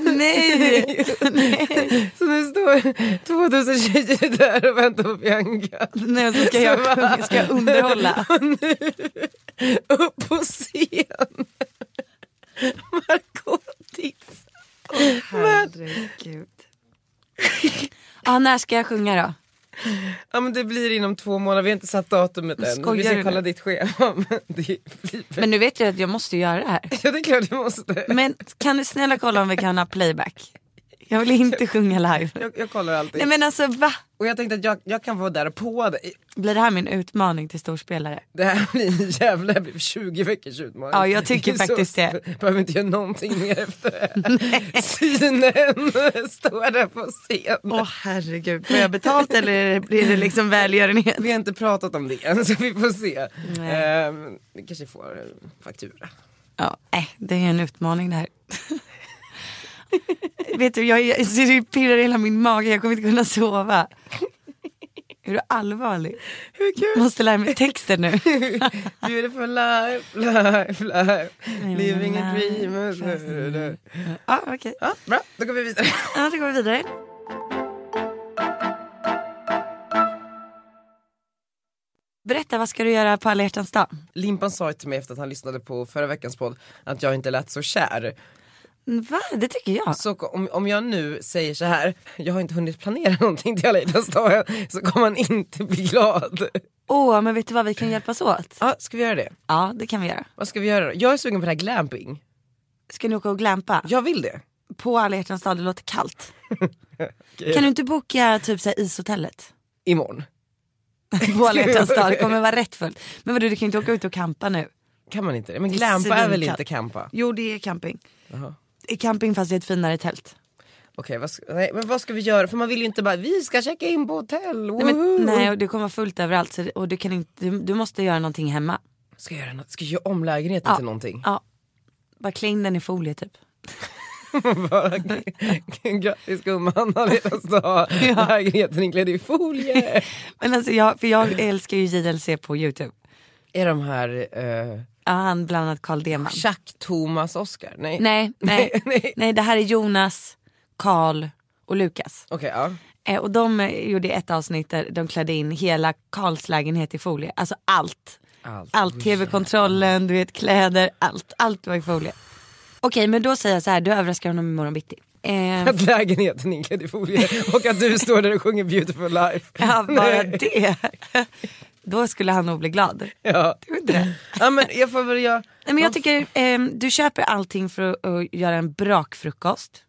Speaker 2: Nej. Nej.
Speaker 1: Så nu står 2000 tjejer där och väntar på Bianca.
Speaker 2: Nej, och så ska jag, sjunga- ska jag underhålla.
Speaker 1: Och nu, upp på scen. Markotis.
Speaker 2: Herregud. Ah, när ska jag sjunga då?
Speaker 1: Ja men det blir inom två månader, vi har inte satt datumet än.
Speaker 2: Skojar
Speaker 1: vi
Speaker 2: du
Speaker 1: ska
Speaker 2: nu?
Speaker 1: kolla ditt schema. Men det blir väl...
Speaker 2: Men nu vet jag att jag måste göra det här.
Speaker 1: Ja det är klart du måste.
Speaker 2: Men kan du snälla kolla om vi kan ha playback? Jag vill inte sjunga live.
Speaker 1: Jag, jag kollar alltid.
Speaker 2: Nej men alltså va?
Speaker 1: Och jag tänkte att jag, jag kan vara där på dig.
Speaker 2: Blir det här min utmaning till storspelare?
Speaker 1: Det här blir en jävla 20 veckors utmaning.
Speaker 2: Ja, jag tycker
Speaker 1: Så
Speaker 2: faktiskt det.
Speaker 1: Behöver inte göra någonting mer efter det. Synen står där på scen.
Speaker 2: Åh herregud, får jag betalt eller blir det liksom välgörenhet?
Speaker 1: Vi har inte pratat om det än så vi får se.
Speaker 2: Nej.
Speaker 1: Ehm, vi kanske får en faktura.
Speaker 2: Ja, äh, det är en utmaning det här. Vet du, jag, jag så det pirrar i hela min mage, jag kommer inte kunna sova. Är du allvarlig?
Speaker 1: Hur kul?
Speaker 2: Måste lära mig texten nu.
Speaker 1: Beautiful life, life, life. Living a dream.
Speaker 2: Ja, okej.
Speaker 1: Ja, bra, då går vi vidare.
Speaker 2: Ja, då går vi vidare. Berätta, vad ska du göra på alla hjärtans dag?
Speaker 1: Limpan sa ju till mig efter att han lyssnade på förra veckans podd att jag inte lät så kär.
Speaker 2: Va? Det tycker jag.
Speaker 1: Så om, om jag nu säger så här, jag har inte hunnit planera någonting till alla hjärtans dag än", så kommer han inte bli glad.
Speaker 2: Åh, men vet du vad, vi kan hjälpas åt.
Speaker 1: Ja, ska vi göra det?
Speaker 2: Ja, det kan vi göra.
Speaker 1: Vad ska vi göra då? Jag är sugen på det här glamping.
Speaker 2: Ska ni åka och glampa?
Speaker 1: Jag vill det.
Speaker 2: På alla hjärtans dag, det låter kallt. Kan du inte boka typ så här ishotellet?
Speaker 1: Imorgon.
Speaker 2: På alla hjärtans dag, det kommer vara rätt fullt. Men vadå, du kan ju inte åka ut och campa nu.
Speaker 1: Kan man inte det? Men
Speaker 2: Det är
Speaker 1: glampa är väl
Speaker 2: svinkallt.
Speaker 1: inte campa?
Speaker 2: Jo, det är camping.
Speaker 1: Jaha.
Speaker 2: Det är camping fast i ett finare tält.
Speaker 1: Okej, vad ska, nej, men vad ska vi göra? För man vill ju inte bara, vi ska checka in på hotell,
Speaker 2: Nej, men,
Speaker 1: woho!"
Speaker 2: nej och det kommer vara fullt överallt så, det- och du, kan inte, du, du måste göra någonting hemma.
Speaker 1: Ska jag göra något? Ska jag göra om lägenheten till någonting?
Speaker 2: Ja. Bara klä in den i folie typ.
Speaker 1: Bara, Grattis gumman, alla hjärtans dag. Lägenheten inklädd i folie.
Speaker 2: Men alltså jag, för jag älskar ju JLC på youtube.
Speaker 1: är de här eh,
Speaker 2: Ja, han bland annat Carl Deman.
Speaker 1: Chuck, Thomas, Oscar? Nej.
Speaker 2: Nej, nej,
Speaker 1: nej.
Speaker 2: nej det här är Jonas, Carl och Lukas.
Speaker 1: Okej, ja.
Speaker 2: Eh, och de eh, gjorde ett avsnitt där de klädde in hela Karls lägenhet i folie. Alltså allt.
Speaker 1: Allt.
Speaker 2: Allt, tv-kontrollen, du vet kläder, allt. Allt var i folie. Okej men då säger jag så här, du överraskar honom imorgon bitti. Eh,
Speaker 1: Att lägenheten inklädd i folie och att du står där och sjunger beautiful life.
Speaker 2: ja, bara
Speaker 1: Nej.
Speaker 2: det. Då skulle han nog bli glad.
Speaker 1: Ja.
Speaker 2: Tror du inte det?
Speaker 1: ja, men jag får väl göra...
Speaker 2: Nej, men jag tycker ehm, du köper allting för att, att göra en brakfrukost.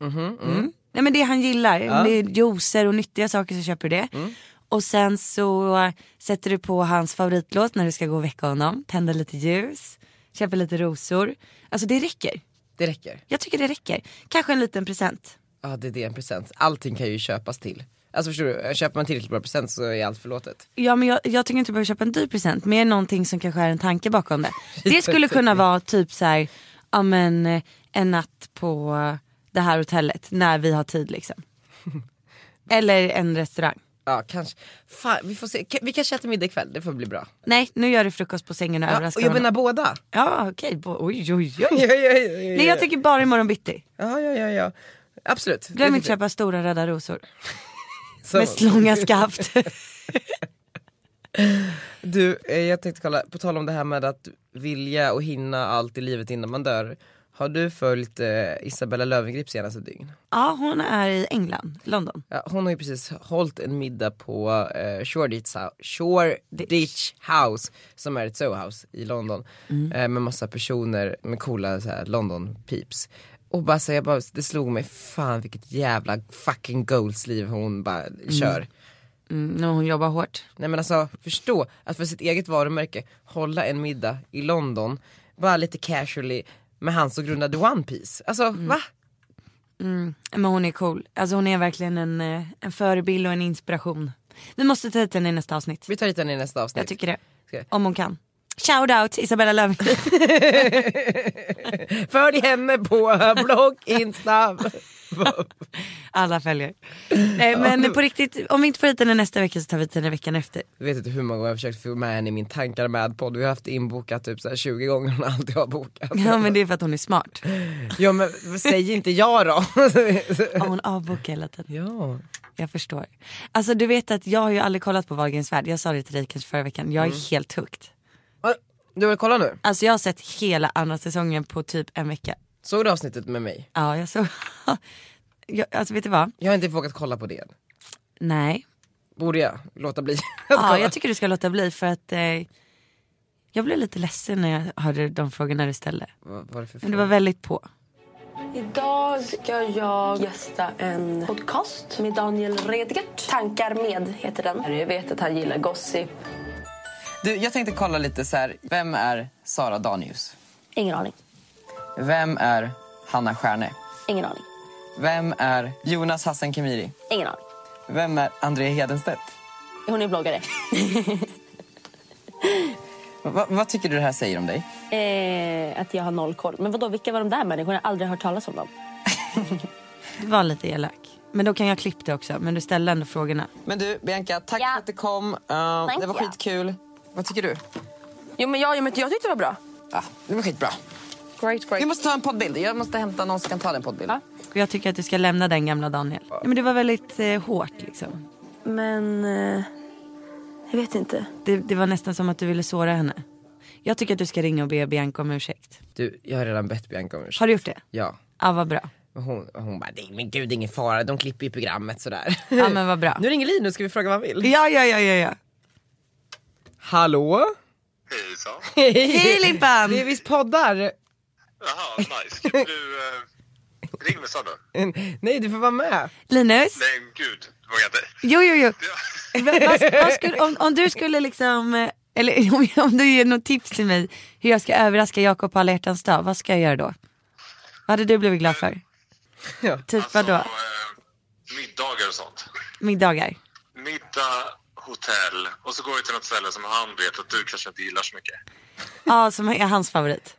Speaker 2: Mm. Nej, men det han gillar, det är juicer och nyttiga saker så köper du det. Och sen så eh, sätter du på hans favoritlåt när du ska gå och väcka honom, tänder lite ljus, köper lite rosor. Alltså det räcker.
Speaker 1: Det räcker.
Speaker 2: Jag tycker det räcker. Kanske en liten present.
Speaker 1: Ja, det är det en present. Allting kan ju köpas till. Alltså förstår du, köper man tillräckligt bra present så är allt förlåtet.
Speaker 2: Ja men jag, jag tycker inte du behöver köpa en dyr present, mer någonting som kanske är en tanke bakom det. Det skulle kunna vara typ så här, ja men eh, en natt på det här hotellet när vi har tid liksom. Eller en restaurang.
Speaker 1: Ja kanske, fan vi får se, Ka- vi kanske äter middag ikväll, det får bli bra.
Speaker 2: Nej nu gör du frukost på sängen och
Speaker 1: Ja,
Speaker 2: överraskar
Speaker 1: och jag
Speaker 2: honom.
Speaker 1: menar båda.
Speaker 2: Ja okej, bo- oj oj
Speaker 1: Ja, ja,
Speaker 2: oj.
Speaker 1: ja, ja,
Speaker 2: Nej jag tycker bara imorgon bitti.
Speaker 1: ja, ja, ja, ja. Absolut.
Speaker 2: Glöm
Speaker 1: Det
Speaker 2: inte
Speaker 1: tycker
Speaker 2: köpa stora röda rosor
Speaker 1: jag. Så-
Speaker 2: med långa skaft.
Speaker 1: Du, eh, jag tänkte kolla, på tal om det här med att vilja och hinna allt i livet innan man dör. Har du följt eh, Isabella Löwengrip senaste dygn?
Speaker 2: ja hon är i England, London.
Speaker 1: Ja, hon har ju precis hållit en middag på eh, Shoreditch, Hou- Shoreditch House som är ett Sohouse i London.
Speaker 2: Mm.
Speaker 1: Eh, med massa personer med coola så här, London peeps. Och bara så jag bara, det slog mig, fan vilket jävla fucking goalsliv hon bara kör.
Speaker 2: Mm, och hon jobbar hårt.
Speaker 1: Nej men alltså förstå att för sitt eget varumärke hålla en middag i London, bara lite casually med han som grundade One Piece. Alltså
Speaker 2: Mm.
Speaker 1: va?
Speaker 2: Men hon är cool. Alltså hon är verkligen en, eh, en förebild och en inspiration. Vi måste ta hit henne i nästa avsnitt.
Speaker 1: Vi tar hit henne i nästa avsnitt.
Speaker 2: Jag tycker det.
Speaker 1: Ska jag-
Speaker 2: Om hon kan. Shout out Isabella Löwengrip.
Speaker 1: Följ henne på blogg, insta.
Speaker 2: Alla följer. Nej men på riktigt, om vi inte får hit henne nästa vecka så tar vi hit henne veckan efter.
Speaker 1: Jag vet inte hur många gånger jag har försökt få med henne i min tankar med podd. Vi har haft inbokat typ så här 20 gånger hon alltid har bokat.
Speaker 2: Ja men det är för att hon är smart.
Speaker 1: Ja men säg inte ja då.
Speaker 2: Ja, hon avbokar hela tiden.
Speaker 1: ja.
Speaker 2: Jag förstår. Alltså du vet att jag har ju aldrig kollat på Wahlgrens värld. Jag sa det till dig kanske förra veckan. Jag är
Speaker 1: Mm.
Speaker 2: helt hooked.
Speaker 1: Du vill kolla nu?
Speaker 2: Alltså jag har sett hela andra säsongen på typ en vecka.
Speaker 1: Såg du avsnittet med mig?
Speaker 2: Ja jag såg. jag, alltså vet du vad?
Speaker 1: Jag har inte vågat kolla på det än.
Speaker 2: Nej.
Speaker 1: Borde jag låta bli?
Speaker 2: Ja, jag tycker du ska låta bli för att eh, jag blev lite ledsen när jag hörde de frågorna du ställde.
Speaker 1: Vad var det för
Speaker 2: Men
Speaker 1: fråga?
Speaker 2: du var väldigt på.
Speaker 6: Idag ska jag gästa en podcast med Daniel Redgert. Tankar med heter den. Jag vet att han gillar gossip.
Speaker 7: Du, jag tänkte kolla lite så här. Vem är Sara Danius?
Speaker 6: Ingen aning.
Speaker 7: Vem är Hanna Stjärne?
Speaker 6: Ingen aning.
Speaker 7: Vem är Jonas Hassan Khemiri?
Speaker 6: Ingen aning.
Speaker 7: Vem är André Hedenstedt?
Speaker 6: Hon är bloggare.
Speaker 7: Va, vad tycker du det här säger om dig?
Speaker 6: Eh, att jag har noll koll. Men vadå, vilka var de där människorna? Jag har aldrig hört talas om dem.
Speaker 2: Du var lite elak. Men då kan jag klippa det också. Men du ställde ändå frågorna.
Speaker 7: Men du, Bianca, tack
Speaker 6: Ja.
Speaker 7: för att du kom. Uh, det var
Speaker 6: you.
Speaker 7: skitkul. Vad tycker du?
Speaker 6: Jo, men jag, jag tyckte det var bra.
Speaker 7: Ja, det var skitbra.
Speaker 6: Great,
Speaker 7: Vi
Speaker 6: great.
Speaker 7: måste ta en poddbild. Jag måste hämta någon som kan ta den poddbild.
Speaker 6: Ja.
Speaker 2: Och jag tycker att du ska lämna den gamla Daniel. Ja, men det var väldigt eh, hårt liksom.
Speaker 6: Men... Eh, jag vet inte.
Speaker 2: Det, det var nästan som att du ville såra henne. Jag tycker att du ska ringa och be Bianca om ursäkt.
Speaker 1: Du, jag har redan bett Bianca om ursäkt.
Speaker 2: Har du gjort det?
Speaker 1: Ja.
Speaker 2: Ja vad bra.
Speaker 1: Och Hon, och hon bara, "Nej, men gud det är ingen fara, de klipper ju programmet sådär.
Speaker 2: Ja men vad bra.
Speaker 1: Nu ringer Linus, ska vi fråga vad han vill?
Speaker 2: Ja ja ja ja ja.
Speaker 1: Hallå?
Speaker 8: Hejsan.
Speaker 2: Hej Limpan!
Speaker 1: Det är visst poddar?
Speaker 8: Jaha, nice. Kan du... Eh, ring mig sen då.
Speaker 1: Nej du får vara med.
Speaker 2: Linus?
Speaker 8: Nej, men gud. Det vågar jag inte.
Speaker 2: Jo jo jo.
Speaker 8: Ja.
Speaker 2: Vad- vad- vad skulle, om, om du skulle liksom, eh, eller om, om du ger något tips till mig hur jag ska överraska Jakob på alla hjärtans dag, vad ska jag göra då? Vad hade du blivit glad för?
Speaker 1: Ja.
Speaker 2: Typ vadå?
Speaker 8: Så, eh, middagar och sånt.
Speaker 2: Middagar?
Speaker 8: Middag, hotell och så går vi till något ställe som han vet att du kanske inte gillar så mycket.
Speaker 2: Ja, som är hans favorit.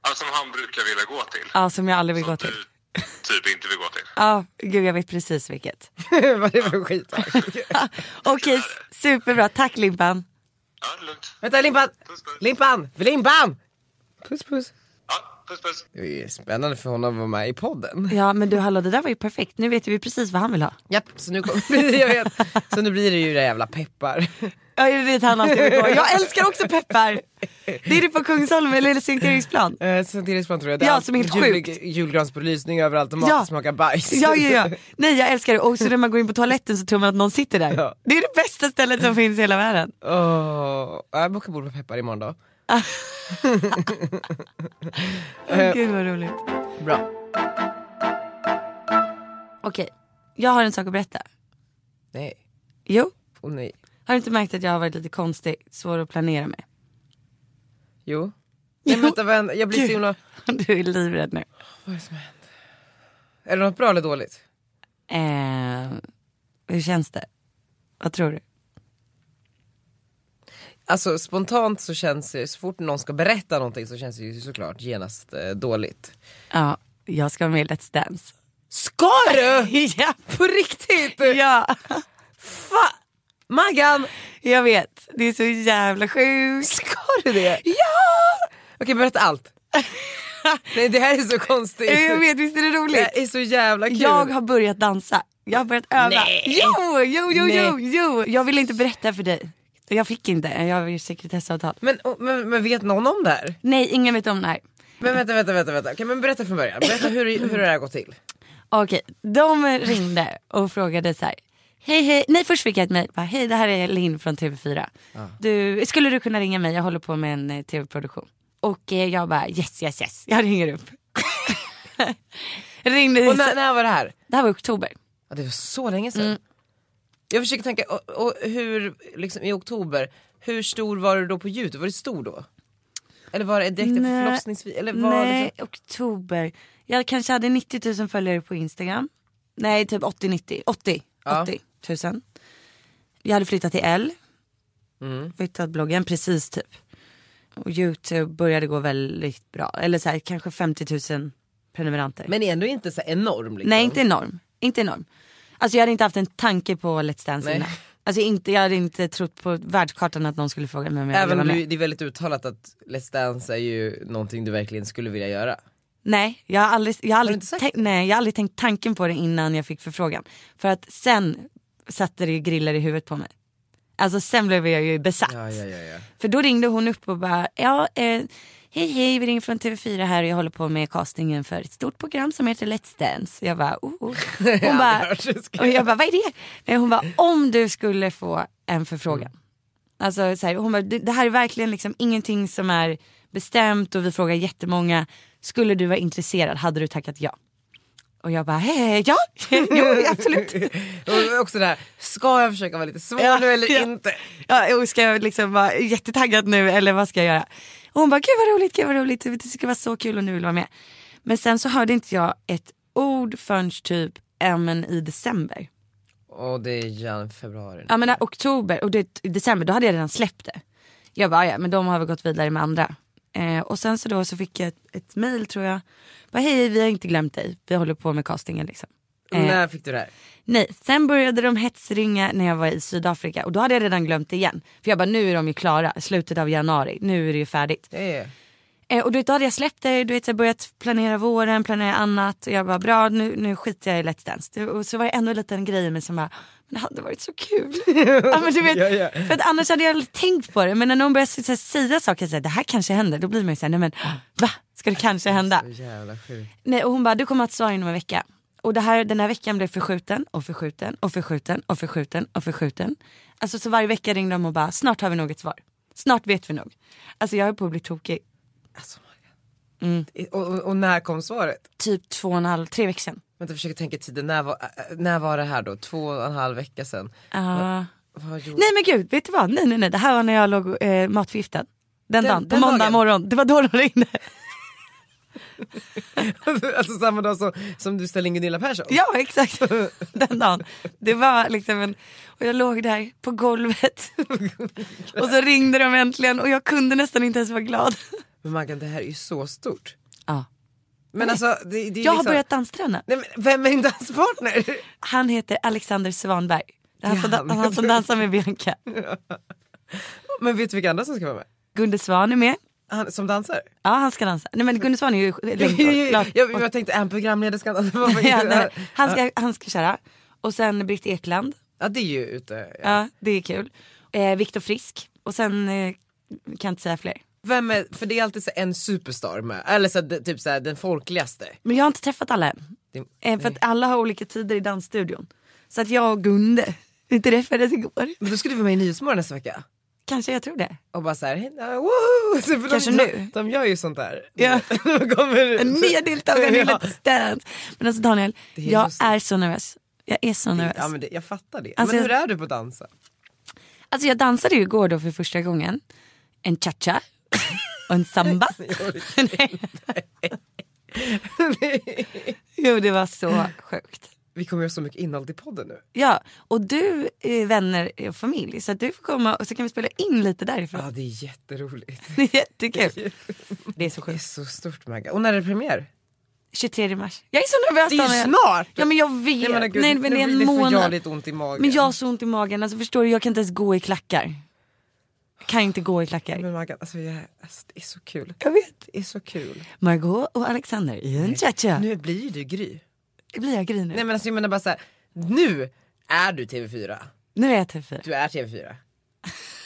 Speaker 8: Alltså som han brukar vilja gå till.
Speaker 2: Ja, som jag aldrig vill gå
Speaker 8: Som
Speaker 2: till.
Speaker 8: du typ inte vill gå till.
Speaker 2: Ja, gud jag vet precis vilket.
Speaker 1: Vad är det för skit?
Speaker 2: Okej, superbra. Tack Limpan.
Speaker 8: Ja, det är lugnt.
Speaker 1: Vänta Limpan!
Speaker 8: Puss, puss.
Speaker 1: Limpan! Limpan! Puss puss.
Speaker 8: Ja, puss puss.
Speaker 1: Det är ju spännande för honom att vara med i podden.
Speaker 2: Ja, men du hallå det där var ju perfekt. Nu vet vi precis vad han vill ha.
Speaker 1: Japp, så nu, kom, jag vet, så nu blir det ju det jävla peppar.
Speaker 2: Ja, det är dit han alltid vill gå. Jag älskar också peppar. Det är det på Kungsholmen eller Sankt Eriksplan.
Speaker 1: Eh, Sankt Eriksplan tror jag. Det
Speaker 2: Ja,
Speaker 1: allt-
Speaker 2: som är helt sjukt.
Speaker 1: Julgransbelysning överallt och mat
Speaker 2: Ja.
Speaker 1: som smakar bajs.
Speaker 2: Ja, ja, ja. Nej jag älskar det. Och så när man går in på toaletten så tror man att någon sitter där.
Speaker 1: Ja. Mm.
Speaker 2: Det är det bästa stället som finns i hela världen.
Speaker 1: Åh, jag bokar bord med peppar imorgon då. Eh.
Speaker 2: Åh, Gud vad roligt.
Speaker 1: Bra.
Speaker 2: Okej, jag har en sak att berätta.
Speaker 1: Nej,
Speaker 2: Jo,
Speaker 1: oh, nej.
Speaker 2: har du inte märkt att jag har varit lite konstig, svår att planera med?
Speaker 1: Jo. Nej, men vänta, vänta, jag blir så
Speaker 2: Gud.
Speaker 1: himla...
Speaker 2: Du är livrädd nu.
Speaker 1: Är det något bra eller dåligt?
Speaker 2: Eh, Hur känns det? Vad tror du?
Speaker 1: Alltså spontant så känns det, så fort någon ska berätta någonting så känns det ju såklart genast eh, dåligt.
Speaker 2: Ja, jag ska vara med i Let's Dance.
Speaker 1: Ska du?
Speaker 2: ja,
Speaker 1: På riktigt?
Speaker 2: ja,
Speaker 1: Fa- Maggan,
Speaker 2: jag vet. Det är så jävla sjukt.
Speaker 1: ska du det? Ja! Okej berätta allt. Nej det här är så konstigt.
Speaker 2: Jag vet, visst är det
Speaker 1: Det
Speaker 2: roligt?
Speaker 1: här är så jävla kul.
Speaker 2: Jag har börjat dansa. Jag har börjat öva.
Speaker 1: Nej.
Speaker 2: Jo, jo, jo, jo,
Speaker 1: Nej.
Speaker 2: jo. Jag ville inte berätta för dig. Jag fick inte, jag har ju sekretessavtal.
Speaker 1: men, och- men, men vet någon om det här?
Speaker 2: Nej, ingen vet om det här.
Speaker 1: Men vänta, vänta, vänta. vänta. Okej, men berätta från början. Berätta hur, hur det här gått till.
Speaker 2: Okej, de ringde och frågade så här. Hej hej, nej först fick jag ett mejl. bara, Hej det här är Linn från TV4.
Speaker 1: Ah.
Speaker 2: Du, skulle du kunna ringa mig? Jag håller på med en eh, tv-produktion. Och eh, jag bara yes yes yes, jag ringer upp. Ringde,
Speaker 1: Och när, när var det här?
Speaker 2: det här var i oktober.
Speaker 1: Ja, det var så länge
Speaker 2: Mm.
Speaker 1: sedan. Jag försöker tänka, och, och hur, liksom, i oktober, hur stor var du då på Youtube? Var du stor då? Eller var det direkt efter
Speaker 2: Nej.
Speaker 1: förlossningsvis? Eller var
Speaker 2: nej,
Speaker 1: liksom,
Speaker 2: oktober. Jag kanske hade 90 000 följare på Instagram. Nej, typ 80-90. 80,
Speaker 1: Ja.
Speaker 2: 80 000. Jag hade flyttat till L.
Speaker 1: Mm.
Speaker 2: Flyttat bloggen precis typ. Och Youtube började gå väldigt bra. Eller så här, kanske 50 000 prenumeranter.
Speaker 1: men ändå inte så enorm liksom.
Speaker 2: Nej, inte enorm. Inte enorm. Alltså jag hade inte haft en tanke på Let's Dance
Speaker 1: Nej.
Speaker 2: innan. Alltså inte, jag hade inte trott på världskartan att någon skulle fråga mig om jag ville
Speaker 1: Även
Speaker 2: vara
Speaker 1: om
Speaker 2: med.
Speaker 1: du, det är väldigt uttalat att Let's Dance är ju någonting du verkligen skulle vilja göra.
Speaker 2: Nej, jag har aldrig, jag har
Speaker 1: du
Speaker 2: aldrig,
Speaker 1: inte sagt
Speaker 2: tänkt, nej, jag har aldrig tänkt tanken på det innan jag fick förfrågan. För att sen satte det ju grillar i huvudet på mig. Alltså sen blev jag ju besatt.
Speaker 1: Ja, ja, ja, ja.
Speaker 2: För då ringde hon upp och bara, ja, eh, hej hej, vi ringer från TV4 här och jag håller på med castingen för ett stort program som heter Let's Dance. Jag bara, oh, oh. Hon bara,
Speaker 1: hört det skrivas.
Speaker 2: och jag bara, vad är det? Nej, hon bara, om du skulle få en förfrågan. Alltså så här, hon bara, det det här är verkligen liksom ingenting som är bestämt och vi frågar jättemånga. Skulle du vara intresserad, hade du tackat ja? Och jag bara, hej, ja, jo absolut.
Speaker 1: Och också det här, ska jag försöka vara lite svår
Speaker 2: Ja,
Speaker 1: nu eller
Speaker 2: ja.
Speaker 1: inte?
Speaker 2: Ja, och ska jag liksom vara jättetaggad nu eller vad ska jag göra? Och hon bara, gud vad roligt, gud vad roligt, det skulle vara så kul och nu vill vara med. Men sen så hörde inte jag ett ord förrän typ ja, men i december.
Speaker 1: Och det är jan februari nu.
Speaker 2: Ja men när oktober och det, i december då hade jag redan släppt det. Jag bara ja men de har väl gått vidare med andra. Eh, och sen så då så fick jag ett, ett mail tror jag. Bara hej vi har inte glömt dig, vi håller på med castingen liksom. eh.
Speaker 1: När fick du det här?
Speaker 2: Nej, sen började de hetsringa när jag var i Sydafrika och då hade jag redan glömt det igen. För jag bara nu är de ju klara, slutet av januari, nu är det ju färdigt.
Speaker 1: Ja, ja, ja.
Speaker 2: Eh, och du vet, då hade jag släppt det, du vet, jag börjat planera våren, planera annat. Och jag bara bra nu, nu skiter jag i Let's Dance. Det- Och så var det ändå en liten grej i mig som bara, men det hade varit så kul. ja, men du vet,
Speaker 1: Ja, ja.
Speaker 2: För att annars hade jag aldrig tänkt på det. Men när någon börjar så, så här, säga saker, så här, det här kanske händer, då blir man ju såhär, nej men va? Ska det kanske hända?
Speaker 1: Så jävla sjukt.
Speaker 2: Nej, och hon bara, du kommer att svara inom en vecka. Och det här, den här veckan blev förskjuten och förskjuten och förskjuten och förskjuten och förskjuten. Alltså så varje vecka ringde de och bara, snart har vi något svar. Snart vet vi nog. Alltså jag höll på att bli tokig.
Speaker 1: Alltså, mm. och, och, och när kom svaret?
Speaker 2: Typ två och en halv, tre veckor sedan.
Speaker 1: Vänta jag försöker tänka tiden, när var, äh, när var det här då? Två och en halv vecka sedan?
Speaker 2: Ah.
Speaker 1: Vad gjorde
Speaker 2: Nej men gud, vet du vad? Nej nej nej, det här var när jag låg eh, matförgiftad. Den, dagen, på
Speaker 1: den
Speaker 2: måndag
Speaker 1: dagen.
Speaker 2: morgon. Det var då de ringde.
Speaker 1: Alltså samma dag som, som du ställde in Gunilla Persson?
Speaker 2: Ja exakt, den dagen. Det var liksom en, och jag låg där på golvet. och så ringde de äntligen och jag kunde nästan inte ens vara glad.
Speaker 1: Men Maggan det här är ju så stort.
Speaker 2: Ja.
Speaker 1: Men alltså det, det är
Speaker 2: Jag har
Speaker 1: liksom...
Speaker 2: börjat dansträna.
Speaker 1: Nej, men vem är din danspartner?
Speaker 2: Han heter Alexander Svanberg. Det är han, som,
Speaker 1: Det är han.
Speaker 2: dan- han som dansar med Bianca.
Speaker 1: Men vet du vilka andra som ska vara med?
Speaker 2: Gunde Svan är med.
Speaker 1: Han, som dansar?
Speaker 2: Ja han ska dansa. Nej men Gunde Svan är ju
Speaker 1: jag,
Speaker 2: längdgård.
Speaker 1: jag, jag tänkte en programlederska. Alltså, vad var det?
Speaker 2: Ja, nej. han, ska, han ska köra. Och sen Britt Ekland.
Speaker 1: ja det är ju ute. Ja.
Speaker 2: Ja det är kul. Eh, Viktor Frisk. Och sen eh, kan jag inte säga fler.
Speaker 1: Vem är, för det är alltid så en superstar med, eller så, det- typ så den folkligaste.
Speaker 2: Men jag har inte träffat alla än.
Speaker 1: Det-
Speaker 2: Eh, för att alla har olika tider i dansstudion. Så att jag och Gunde, vi träffades igår.
Speaker 1: Men då skulle du vara med i Nyhetsmorgon nästa vecka.
Speaker 2: Kanske jag tror det.
Speaker 1: och bara såhär, woho! Så för
Speaker 2: Kanske
Speaker 1: de,
Speaker 2: nu.
Speaker 1: De, de gör ju sånt där.
Speaker 2: Ja.
Speaker 1: de kommer,
Speaker 2: En nya deltagare i
Speaker 1: Ja.
Speaker 2: Let's Dance. Men alltså Daniel,
Speaker 1: Det är
Speaker 2: jag
Speaker 1: just-
Speaker 2: är så nervös. Jag är så nervös.
Speaker 1: Ja, men det, jag fattar det.
Speaker 2: Alltså,
Speaker 1: men hur
Speaker 2: jag-
Speaker 1: är du på att dansa?
Speaker 2: Alltså jag dansade ju igår då för första gången. En cha-cha och en samba. Nej. jo det var så sjukt.
Speaker 1: vi kommer göra så mycket innehåll i podden nu.
Speaker 2: Ja, och du är vänner och familj så att du får komma och så kan vi spela in lite därifrån.
Speaker 1: Ja det är jätteroligt.
Speaker 2: Det är jättekul. Det är så
Speaker 1: Det är
Speaker 2: sjukt.
Speaker 1: så stort Magga. Och när är det premiär?
Speaker 2: 23 mars. Jag är så nervös
Speaker 1: Det är ju
Speaker 2: Daniel.
Speaker 1: snart!
Speaker 2: Ja men jag vet. Nej men,
Speaker 1: gud,
Speaker 2: det är
Speaker 1: nu
Speaker 2: en
Speaker 1: får jag
Speaker 2: månad.
Speaker 1: lite ont i magen.
Speaker 2: Men jag har så ont i magen, alltså förstår du jag kan inte ens gå i klackar. Jag kan inte gå i klackar.
Speaker 1: Men Maggan, alltså, jag, alltså det är så kul.
Speaker 2: Jag vet.
Speaker 1: Det är så kul.
Speaker 2: Margot och Alexander i en cha-cha.
Speaker 1: Nu blir ju du Gry.
Speaker 2: Blir jag grinig?
Speaker 1: Nej men alltså jag menar bara såhär, nu är du TV4.
Speaker 2: Nu är jag typ fyra.
Speaker 1: Du är TV4.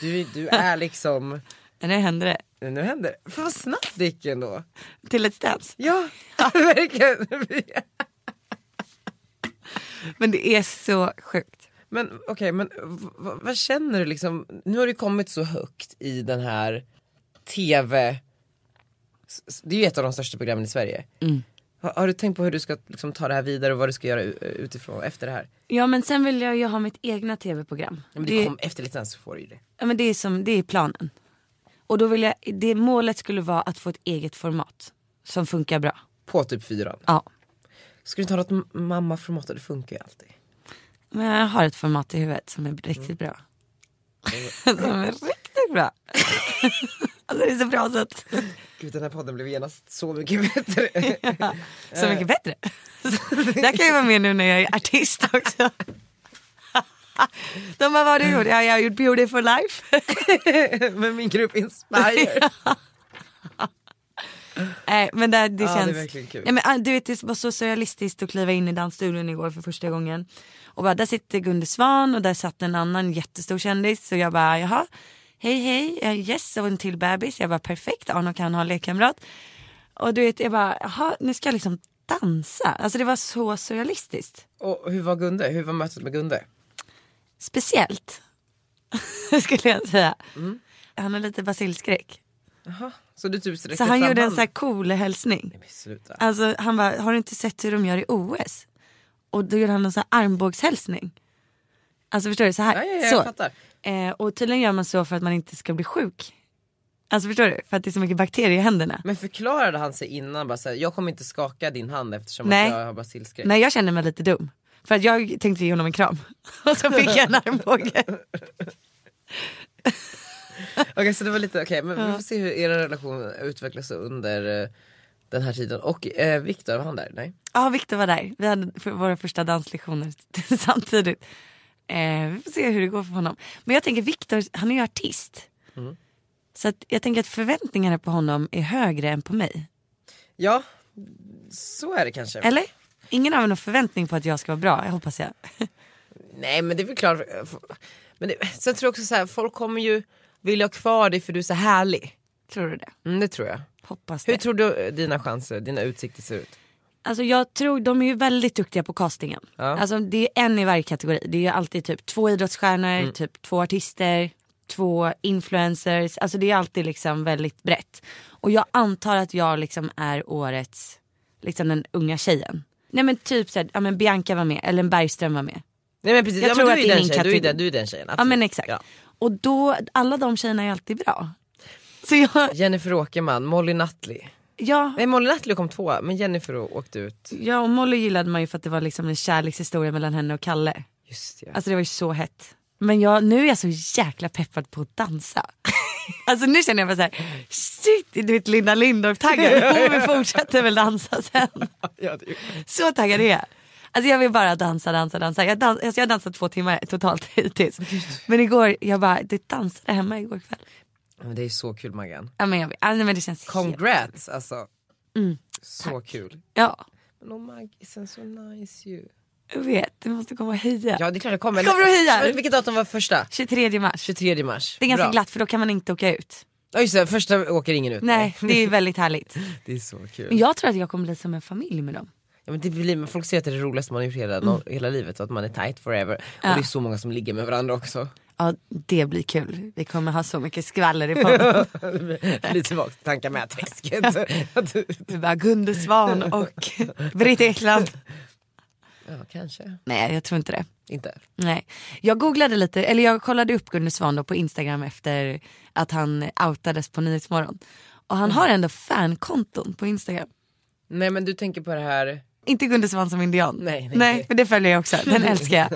Speaker 1: Du, du är liksom,
Speaker 2: Nu händer det.
Speaker 1: nu händer det. Fan vad snabbt det gick ändå.
Speaker 2: Till Let's Dance.
Speaker 1: Ja, verkligen.
Speaker 2: Men det är så sjukt.
Speaker 1: Men okej, men v- v- vad känner du liksom? Nu har du kommit så högt i den här TV, s- s- det är ju ett av de största programmen i Sverige. Har, har du tänkt på hur du ska liksom, ta det här vidare och vad du ska göra u- eh, utifrån efter det här?
Speaker 2: Ja men sen vill jag ju ha mitt egna tv-program.
Speaker 1: Men det kom, efter lite sen så får du ju det.
Speaker 2: Ja, men det, är som, det är planen. Och då vill jag, det målet skulle vara att få ett eget format som funkar bra.
Speaker 1: På typ fyran.
Speaker 2: Ja.
Speaker 1: Ska du inte ha något m- mammaformat? Det funkar ju alltid.
Speaker 2: Men jag har ett format i huvudet som är riktigt bra.
Speaker 1: Mm.
Speaker 2: som är riktigt bra. alltså det är så bra så att,
Speaker 1: Gud den här podden blev genast så mycket bättre. Eh.
Speaker 2: så mycket bättre. Där kan jag vara med nu när jag är artist också. De bara, vad har du gjort? Ja, jag har gjort Beautiful Life.
Speaker 1: men min grupp Inspire.
Speaker 2: Nej men det, det
Speaker 1: Ja, det är
Speaker 2: känns.
Speaker 1: verkligen kul.
Speaker 2: Ja, men, ah, du vet det var så surrealistiskt att kliva in i dansstudion igår för första gången. Och bara där sitter Gunde Svan och där satt en annan jättestor kändis. Så jag bara jaha, hej hej, eh, yes och en till bebis. Jag bara perfekt, Arno kan ha lekkamrat. Och du vet jag bara jaha nu ska jag liksom dansa. Alltså det var så surrealistiskt.
Speaker 1: och hur var Gunde? Hur var mötet med Gunde?
Speaker 2: Speciellt. skulle jag säga. Han har lite basilskräck.
Speaker 1: Så du typ sträckte
Speaker 2: Så han
Speaker 1: fram
Speaker 2: gjorde en
Speaker 1: handen?
Speaker 2: sån här cool hälsning.
Speaker 1: Nej, men Sluta.
Speaker 2: Alltså han bara, har du inte sett hur de gör i OS? Och då gjorde han en sån här armbågshälsning. Alltså förstår du, så här.
Speaker 1: Ja, ja, ja, jag
Speaker 2: så.
Speaker 1: fattar.
Speaker 2: Eh, och tydligen gör man så för att man inte ska bli sjuk. Alltså förstår du, för att det är så mycket bakterier i händerna.
Speaker 1: Men förklarade han sig innan bara så här, jag kommer inte skaka din hand eftersom
Speaker 2: Nej.
Speaker 1: att jag har basilskräck?
Speaker 2: Nej jag känner mig lite dum. För att jag tänkte ge honom en kram. Och så fick jag en armbåge.
Speaker 1: Okej så det var lite, okej men vi får se hur er relation utvecklas under eh, den här tiden. Och eh, Viktor, var han där? Nej?
Speaker 2: Ja Viktor var där, vi hade f- våra första danslektioner samtidigt. Eh, vi får se hur det går för honom. Men jag tänker Viktor, han är ju artist.
Speaker 1: Mm.
Speaker 2: Så att jag tänker att förväntningarna på honom är högre än på mig.
Speaker 1: Ja, så är det kanske.
Speaker 2: Eller? Ingen har väl någon förväntning på att jag ska vara bra, jag hoppas jag.
Speaker 1: Nej men det är väl klart. eh, Men det, sen tror jag också så här, folk kommer ju vilja ha kvar dig för du är så härlig.
Speaker 2: Tror du det?
Speaker 1: Mm, det tror jag.
Speaker 2: Hoppas
Speaker 1: Hur
Speaker 2: det.
Speaker 1: tror du eh, dina chanser, dina utsikter ser ut?
Speaker 2: Alltså jag tror, de är ju väldigt duktiga på castingen. Alltså det är en i varje kategori. Det är ju alltid typ två idrottsstjärnor, typ två artister, två influencers. Alltså det är alltid liksom väldigt brett. Och jag antar att jag liksom är årets, liksom den unga tjejen. Nej men typ såhär, ja men Bianca var med, Ellen Bergström var med.
Speaker 1: Nej men precis,
Speaker 2: Jag
Speaker 1: ja,
Speaker 2: tror
Speaker 1: men
Speaker 2: att
Speaker 1: du,
Speaker 2: det
Speaker 1: är
Speaker 2: är
Speaker 1: den
Speaker 2: min
Speaker 1: tjejen, du är
Speaker 2: kategori.
Speaker 1: den, du är den tjejen.
Speaker 2: Ja men
Speaker 1: absolut.
Speaker 2: exakt.
Speaker 1: Ja.
Speaker 2: Och då, alla de tjejerna är alltid bra. Så jag,
Speaker 1: Jennifer Åkerman, Molly Nutley.
Speaker 2: ja.
Speaker 1: Nej Molly Nutley kom tvåa men Jennifer å- åkte ut.
Speaker 2: Ja och Molly gillade man ju för att det var liksom en kärlekshistoria mellan henne och Kalle.
Speaker 1: Just ja.
Speaker 2: Alltså det var ju så hett. Men jag, nu är jag så jäkla peppad på att dansa. Alltså nu känner jag bara såhär, shit, du vet Linda Lindorff taggad. Hon fortsätter väl dansa sen.
Speaker 1: ja, det,
Speaker 2: Så taggad är jag. Alltså jag vill bara dansa, dansa, dansa. Jag, dans, alltså jag har dansat två timmar totalt hittills. Men igår, jag bara, det dansade hemma igår kväll.
Speaker 1: men det är så kul Maggan.
Speaker 2: Ja Mm, men jag vet, alltså, men det känns helt...
Speaker 1: Congrats alltså. så kul.
Speaker 2: Ja,
Speaker 1: Men oh Maggisen, så nice ju.
Speaker 2: jag vet. Du måste komma och heja.
Speaker 1: Ja det är klart det kommer.
Speaker 2: Kommer du att heja?
Speaker 1: Vilket datum var första?
Speaker 2: 23 mars.
Speaker 1: 23 mars.
Speaker 2: Det är ganska
Speaker 1: Bra.
Speaker 2: glatt för då kan man inte åka ut.
Speaker 1: Ja just det, första åker ingen ut.
Speaker 2: Nej, det är väldigt härligt.
Speaker 1: Det är så kul.
Speaker 2: Men jag tror att jag kommer bli som en familj med dem.
Speaker 1: Ja, men det blir, men folk säger att det är det roligaste man har gjort hela, no- hela livet, att man är tight forever. Och det är så många som ligger med varandra också.
Speaker 2: Ja, det blir kul. Vi kommer ha så mycket skvaller i podden.
Speaker 1: Lite tillbaka till tankar med träsket. Att du-
Speaker 2: Vi bara Gunde Svan och Britt Ekland.
Speaker 1: ja kanske,
Speaker 2: Nej, jag tror inte det.
Speaker 1: inte.
Speaker 2: Nej. Jag googlade lite, eller jag kollade upp Gunde Svan då på Instagram efter att han outades på Mm. Nyhetsmorgon. Och han har ändå fankonton på Instagram.
Speaker 1: Nej men du tänker på det här,
Speaker 2: Inte Gunde Svan som indian.
Speaker 1: Nej, nej,
Speaker 2: nej,
Speaker 1: nej.
Speaker 2: men det följer jag också. Den älskar jag.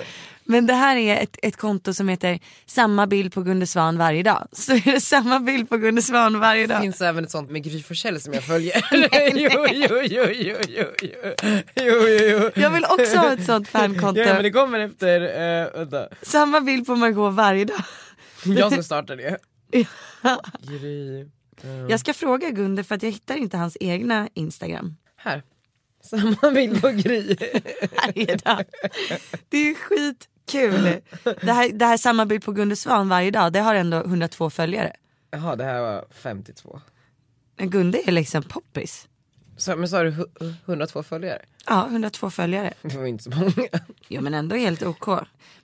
Speaker 2: Men det här är ett, ett konto som heter samma bild på Gunde Svan varje dag. Så är det samma bild på Gunde Svan varje dag.
Speaker 1: Det finns även ett sånt med Gry Forssell som jag följer. jo, jo, jo, jo, jo, jo, jo, jo, jo.
Speaker 2: Jag vill också ha ett sånt fankonto.
Speaker 1: Ja men det kommer efter, eh, vänta.
Speaker 2: Samma bild på Margot varje dag.
Speaker 1: Jag som startar det. Gry.
Speaker 2: Jag ska fråga Gunde för att jag hittar inte hans egna Instagram.
Speaker 1: Här. Samma bild på Gry.
Speaker 2: Varje dag. Det är ju skitkul. Det här, det här samma bild på Gunde Svan varje dag, det har ändå 102 följare.
Speaker 1: Jaha det här var 52.
Speaker 2: Men Gunde är liksom poppis.
Speaker 1: Så, men sa du hu- 102 följare?
Speaker 2: Ja, 102 följare.
Speaker 1: Det var inte så många.
Speaker 2: Jo men ändå helt OK.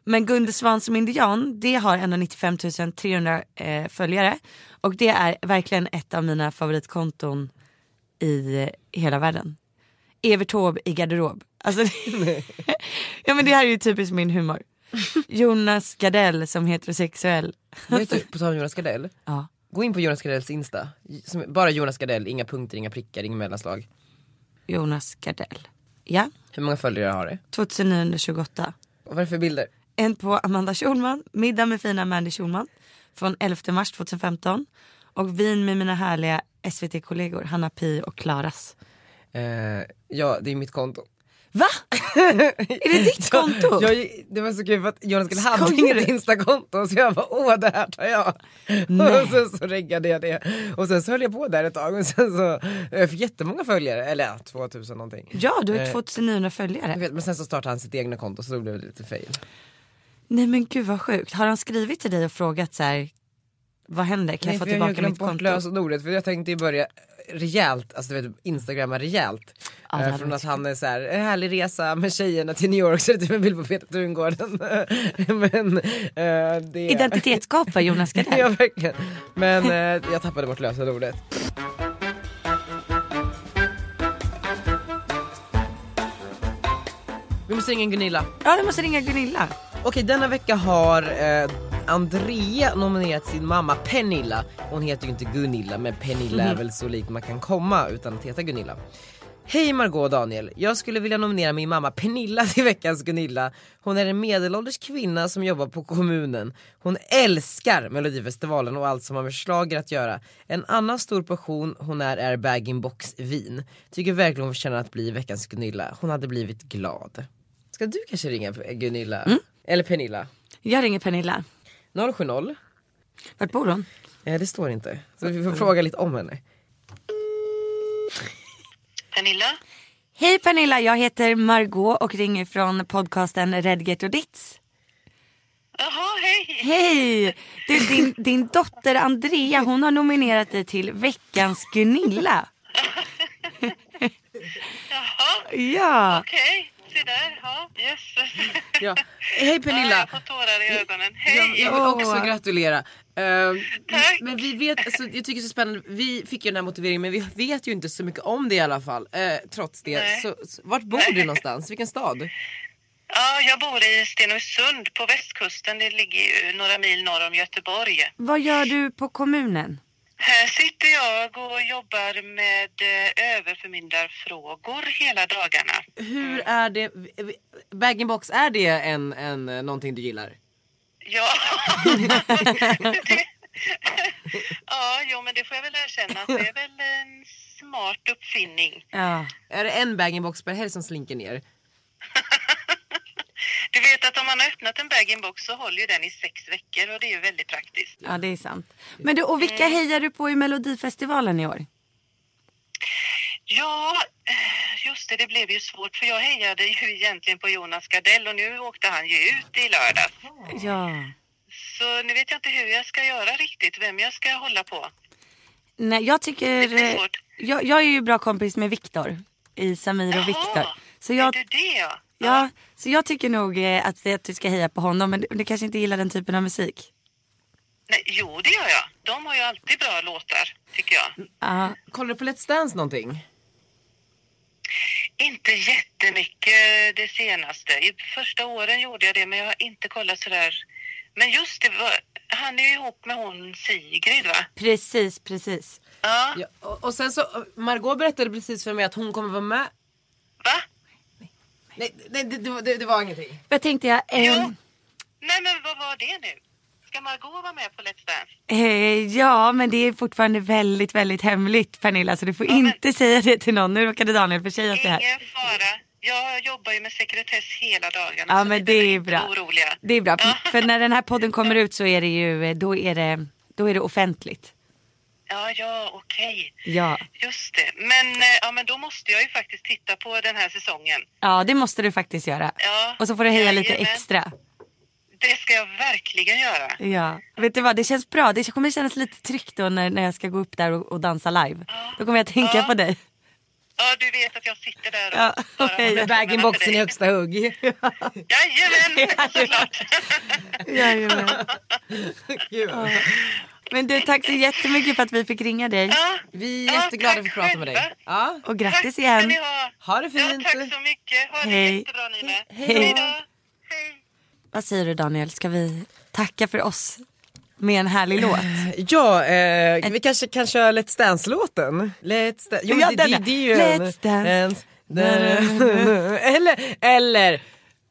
Speaker 2: Men Gunde Svan som indian, det har ändå 95 300 eh, följare. Och det är verkligen ett av mina favoritkonton i eh, hela världen. Evert Taube i garderob. Alltså, ja men det här är ju typiskt min humor. Jonas Gardell som heterosexuell.
Speaker 1: Vet du, typ på tal om Jonas Gardell.
Speaker 2: Ja.
Speaker 1: Gå in på Jonas Gardells Insta. Som, bara Jonas Gardell, inga punkter, inga prickar, inga mellanslag.
Speaker 2: Jonas Gardell. Ja,
Speaker 1: Hur många följare har det?
Speaker 2: 2928.
Speaker 1: Och vad är det för bilder?
Speaker 2: En på Amanda Schulman, Middag med fina Mandy Schulman från 11 mars 2015 och Vin med mina härliga SVT-kollegor Hanna Pi och Klaras.
Speaker 1: Eh, ja, det är mitt konto.
Speaker 2: Va? Är det ditt konto?
Speaker 1: Jag, gick- det var så kul för att Jonas Gardell hade
Speaker 2: Skojar
Speaker 1: inget
Speaker 2: du?
Speaker 1: Insta-konto så jag bara åh det här tar jag.
Speaker 2: Nej.
Speaker 1: Och sen så reggade jag det. Och sen så höll jag på där ett tag och sen så, jag fick jättemånga följare, eller ja, 2000 någonting.
Speaker 2: Ja, du har
Speaker 1: Eh,
Speaker 2: 2900
Speaker 1: Jag
Speaker 2: följare.
Speaker 1: vet, men sen så startade han sitt egna konto så då blev det lite fail.
Speaker 2: Nej men gud vad sjukt. Har han skrivit till dig och frågat så här, vad händer? Kan jag
Speaker 1: för
Speaker 2: få
Speaker 1: har ju
Speaker 2: tillbaka
Speaker 1: glömt
Speaker 2: mitt
Speaker 1: bort
Speaker 2: konto?
Speaker 1: lösenordet för jag tänkte ju börja rejält, alltså du vet instagramma rejält.
Speaker 2: Ja, det
Speaker 1: Eh,
Speaker 2: hade
Speaker 1: från
Speaker 2: varit
Speaker 1: att han är så här, en härlig resa med tjejerna till New York så är det typ en bild på Peter Tungården. men eh, det...
Speaker 2: Identitetsskapare Jonas Gardell.
Speaker 1: Ja verkligen. Men eh, jag tappade bort lösenordet. Vi måste ringa en Gunilla.
Speaker 2: Ja, jag måste ringa Gunilla.
Speaker 1: Okej, denna vecka har eh, Andrea nominerat sin mamma Pernilla. Hon heter ju inte Gunilla, men Pernilla är väl så likt man kan komma utan att heta Gunilla. Hej Margot och Daniel. Jag skulle vilja nominera min mamma Pernilla till veckans Gunilla. Hon är en medelålders kvinna som jobbar på kommunen. Hon älskar Melodifestivalen och allt som har med schlager att göra. En annan stor passion hon är är bag-in-box vin. Tycker verkligen hon förtjänar att bli veckans Gunilla. Hon hade blivit glad. Ska du kanske ringa Gunilla? Eller Pernilla?
Speaker 2: Jag ringer Pernilla.
Speaker 1: 070?
Speaker 2: Vart bor hon?
Speaker 1: Nej Eh, det står inte. Så vi får fråga lite om henne.
Speaker 3: Pernilla?
Speaker 2: Hej Pernilla, jag heter Margot och ringer från podcasten Redgert och Ditz.
Speaker 3: Jaha, hej.
Speaker 2: Hej! Du, din, din dotter Andrea hon har nominerat dig till veckans Gunilla.
Speaker 3: Jaha,
Speaker 2: Ja,
Speaker 3: okej. Se där, ja. Jösses.
Speaker 1: Ja. Hej
Speaker 3: Ja, jag
Speaker 1: Pernilla!
Speaker 3: får tårar i ögonen.
Speaker 1: Jag,
Speaker 3: Hej.
Speaker 1: jag vill också gratulera. Ehm,
Speaker 3: Tack.
Speaker 1: men vi vet, alltså, jag tycker det är så spännande, vi fick ju den här motiveringen men vi vet ju inte så mycket om det i alla fall. Eh, trots det,
Speaker 3: Nej. Mm.
Speaker 1: så, så, vart bor du någonstans? Vilken stad?
Speaker 3: Ja, jag bor i Stenungsund på västkusten. Det ligger ju några mil norr om Göteborg.
Speaker 2: vad gör du på kommunen?
Speaker 3: Här sitter jag och jobbar med eh, överförmyndarfrågor hela dagarna.
Speaker 1: Hur är det, bag-in-box, är det en, en, eh, någonting du gillar?
Speaker 3: Ja. Det- ja, jo, men det får jag väl erkänna. att Det är väl en smart uppfinning.
Speaker 2: Ja.
Speaker 1: Är det en bag-in-box per helg som slinker ner?
Speaker 3: Du vet att om man har öppnat en bag-in-box så håller ju den i sex veckor och det är ju väldigt praktiskt.
Speaker 2: ja, det är sant. Men du, och
Speaker 3: Eh.
Speaker 2: vilka hejar du på i Melodifestivalen i år?
Speaker 3: Ja, eh, just det, det blev ju svårt för jag hejade ju egentligen på Jonas Gardell och nu åkte han ju ut i lördags.
Speaker 2: Ja.
Speaker 3: Så nu vet jag inte hur jag ska göra riktigt, vem jag ska hålla på.
Speaker 2: Nej, jag tycker... eh, Jag, jag är ju bra kompis med Viktor i Samir och Viktor. Så
Speaker 3: är
Speaker 2: jag,
Speaker 3: du det ja?
Speaker 2: ja, så jag tycker nog eh, att, att du ska heja på honom men du, du kanske inte gillar den typen av musik?
Speaker 3: Nej, jo, det gör jag. De har ju alltid bra låtar, tycker jag.
Speaker 2: Ja.
Speaker 1: Kollar du på Let's Dance någonting?
Speaker 3: Inte jättemycket det senaste. I första åren gjorde jag det, men jag har inte kollat sådär. Men just det, var, han är ju ihop med hon Sigrid, va?
Speaker 2: Precis, precis.
Speaker 3: Ja,
Speaker 1: Ja, och, och sen så, Margot berättade precis för mig att hon kommer vara med
Speaker 3: va?
Speaker 1: Nej, nej det, det, var- det, det var ingenting.
Speaker 2: Vad tänkte jag? Eh,
Speaker 3: Jo. Nej men vad var det nu? Ska Margot vara med på Let's Dance?
Speaker 2: eh, ja, men det är fortfarande väldigt, väldigt hemligt Pernilla. Så du får
Speaker 3: men-
Speaker 2: inte säga det till någon. Nu råkade Daniel försäga sig här.
Speaker 3: Ingen fara. Jag jobbar ju med sekretess hela dagarna.
Speaker 2: Ja
Speaker 3: så
Speaker 2: men
Speaker 3: ni
Speaker 2: det
Speaker 3: behöver
Speaker 2: är
Speaker 3: inte
Speaker 2: bra.
Speaker 3: vara Oroliga.
Speaker 2: Det är bra.
Speaker 3: Ja.
Speaker 2: För när den här podden kommer ut så är det ju, eh, då är det, då är det offentligt.
Speaker 3: Ja, ja, okej.
Speaker 2: Ja.
Speaker 3: Just det. Men, eh, ja, men då måste jag ju faktiskt titta på den här säsongen.
Speaker 2: Ja det måste du faktiskt göra.
Speaker 3: Ja.
Speaker 2: Och så får du heja lite
Speaker 3: Jajamän.
Speaker 2: extra.
Speaker 3: Det ska jag verkligen göra.
Speaker 2: Ja. Vet du vad det känns bra. Det kommer kännas lite tryggt då när, när jag ska gå upp där och, och dansa live. Då kommer jag tänka på dig.
Speaker 3: Ja, du vet att jag sitter där och
Speaker 2: Ja,
Speaker 3: bara
Speaker 2: okej.
Speaker 3: håller tummarna för
Speaker 1: Bag-in-boxen
Speaker 3: dig.
Speaker 1: i högsta hugg.
Speaker 3: Jajamän, såklart.
Speaker 2: Jajamän.
Speaker 1: Gud.
Speaker 2: Men du tack så jättemycket för att vi fick ringa dig.
Speaker 3: Ja,
Speaker 1: Vi är
Speaker 3: Ja,
Speaker 1: jätteglada för att
Speaker 3: tack
Speaker 1: prata med dig.
Speaker 3: själva.
Speaker 1: Ja,
Speaker 2: Och
Speaker 3: tack
Speaker 2: grattis
Speaker 3: ska
Speaker 2: igen.
Speaker 3: ni ha.
Speaker 1: ha det
Speaker 3: Ja,
Speaker 1: fint.
Speaker 3: tack så mycket. Ha det
Speaker 2: Hej.
Speaker 3: jättebra ni med.
Speaker 2: Hej.
Speaker 3: Hej då. Hej.
Speaker 2: Vad säger du Daniel? Ska vi tacka för oss med en härlig låt?
Speaker 1: Ja, eh, vi kanske kan köra Let's Dance-låten. Let's Dance. Jo,
Speaker 2: Ja,
Speaker 1: det,
Speaker 2: den
Speaker 1: det,
Speaker 2: ja.
Speaker 1: det är ju
Speaker 2: Let's
Speaker 1: en,
Speaker 2: dance.
Speaker 1: en- eller, eller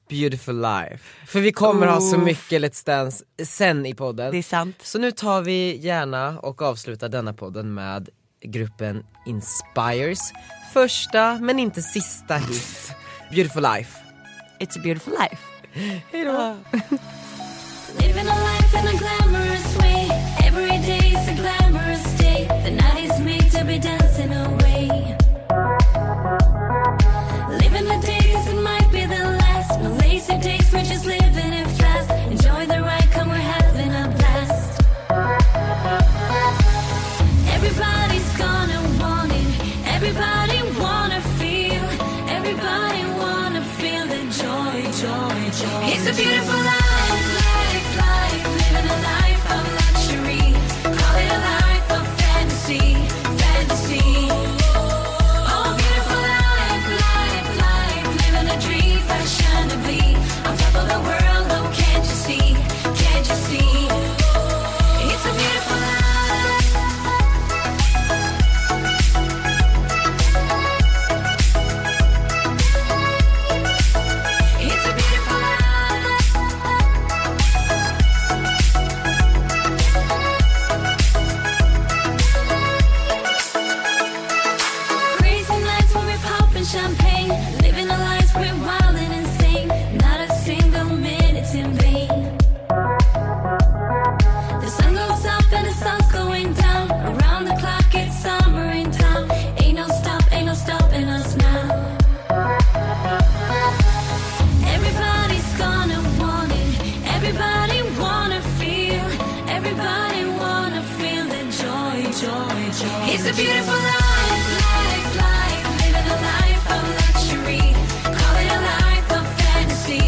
Speaker 1: Beautiful Life. För vi kommer ha så
Speaker 2: Oof.
Speaker 1: mycket Let's Dance sen i podden.
Speaker 2: Det är sant.
Speaker 1: Så nu tar vi gärna och avslutar denna podden med gruppen Inspires första men inte sista hit. Beautiful Life.
Speaker 2: It's a beautiful life.
Speaker 9: Living a life in a glamorous way. Every day is a glamorous day. The night is made to be dancing away. Living the days, it might be the last. No lazy days, we're just living it fast. Enjoy the ride, come, we're having a blast. Everybody's gonna want it. Everybody wanna feel. Everybody wanna feel the joy, joy, joy. It's a beautiful life, life, life. Living a life of luxury. Call it a life of fantasy, fantasy. Oh, beautiful life, life, life. Living a dream fashionably. On top of the world, oh, can't you see? Can't you see? It's a beautiful life. It's a beautiful life. Crazy nights when we're popping champagne, living the lives we're wild and insane. Not a single minute's in vain. The sun goes up and the sun's going down. Around the clock, it's summer in town. Ain't no stop, ain't no stopping us now. Everybody's gonna want it. Everybody wanna feel. Everybody wanna feel the joy, joy, joy. It's a beautiful life, life, life. Living a life of luxury. Call it a life of fantasy,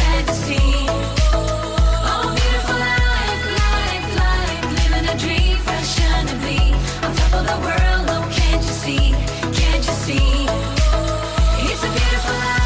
Speaker 9: fantasy. Oh, beautiful life, life, life. Living a dream fashionably. On top of the world, oh, can't you see? Can't you see? It's a beautiful life.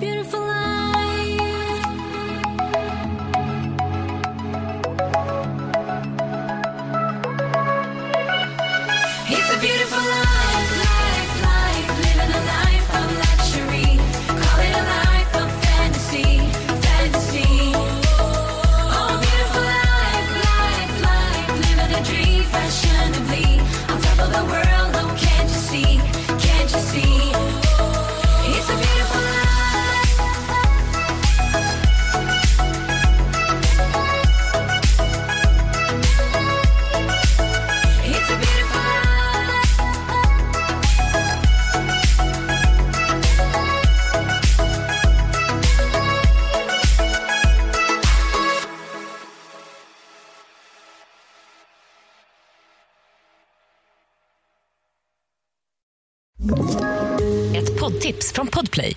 Speaker 9: It's a beautiful life. Oh, oh,
Speaker 10: tips från Podplay.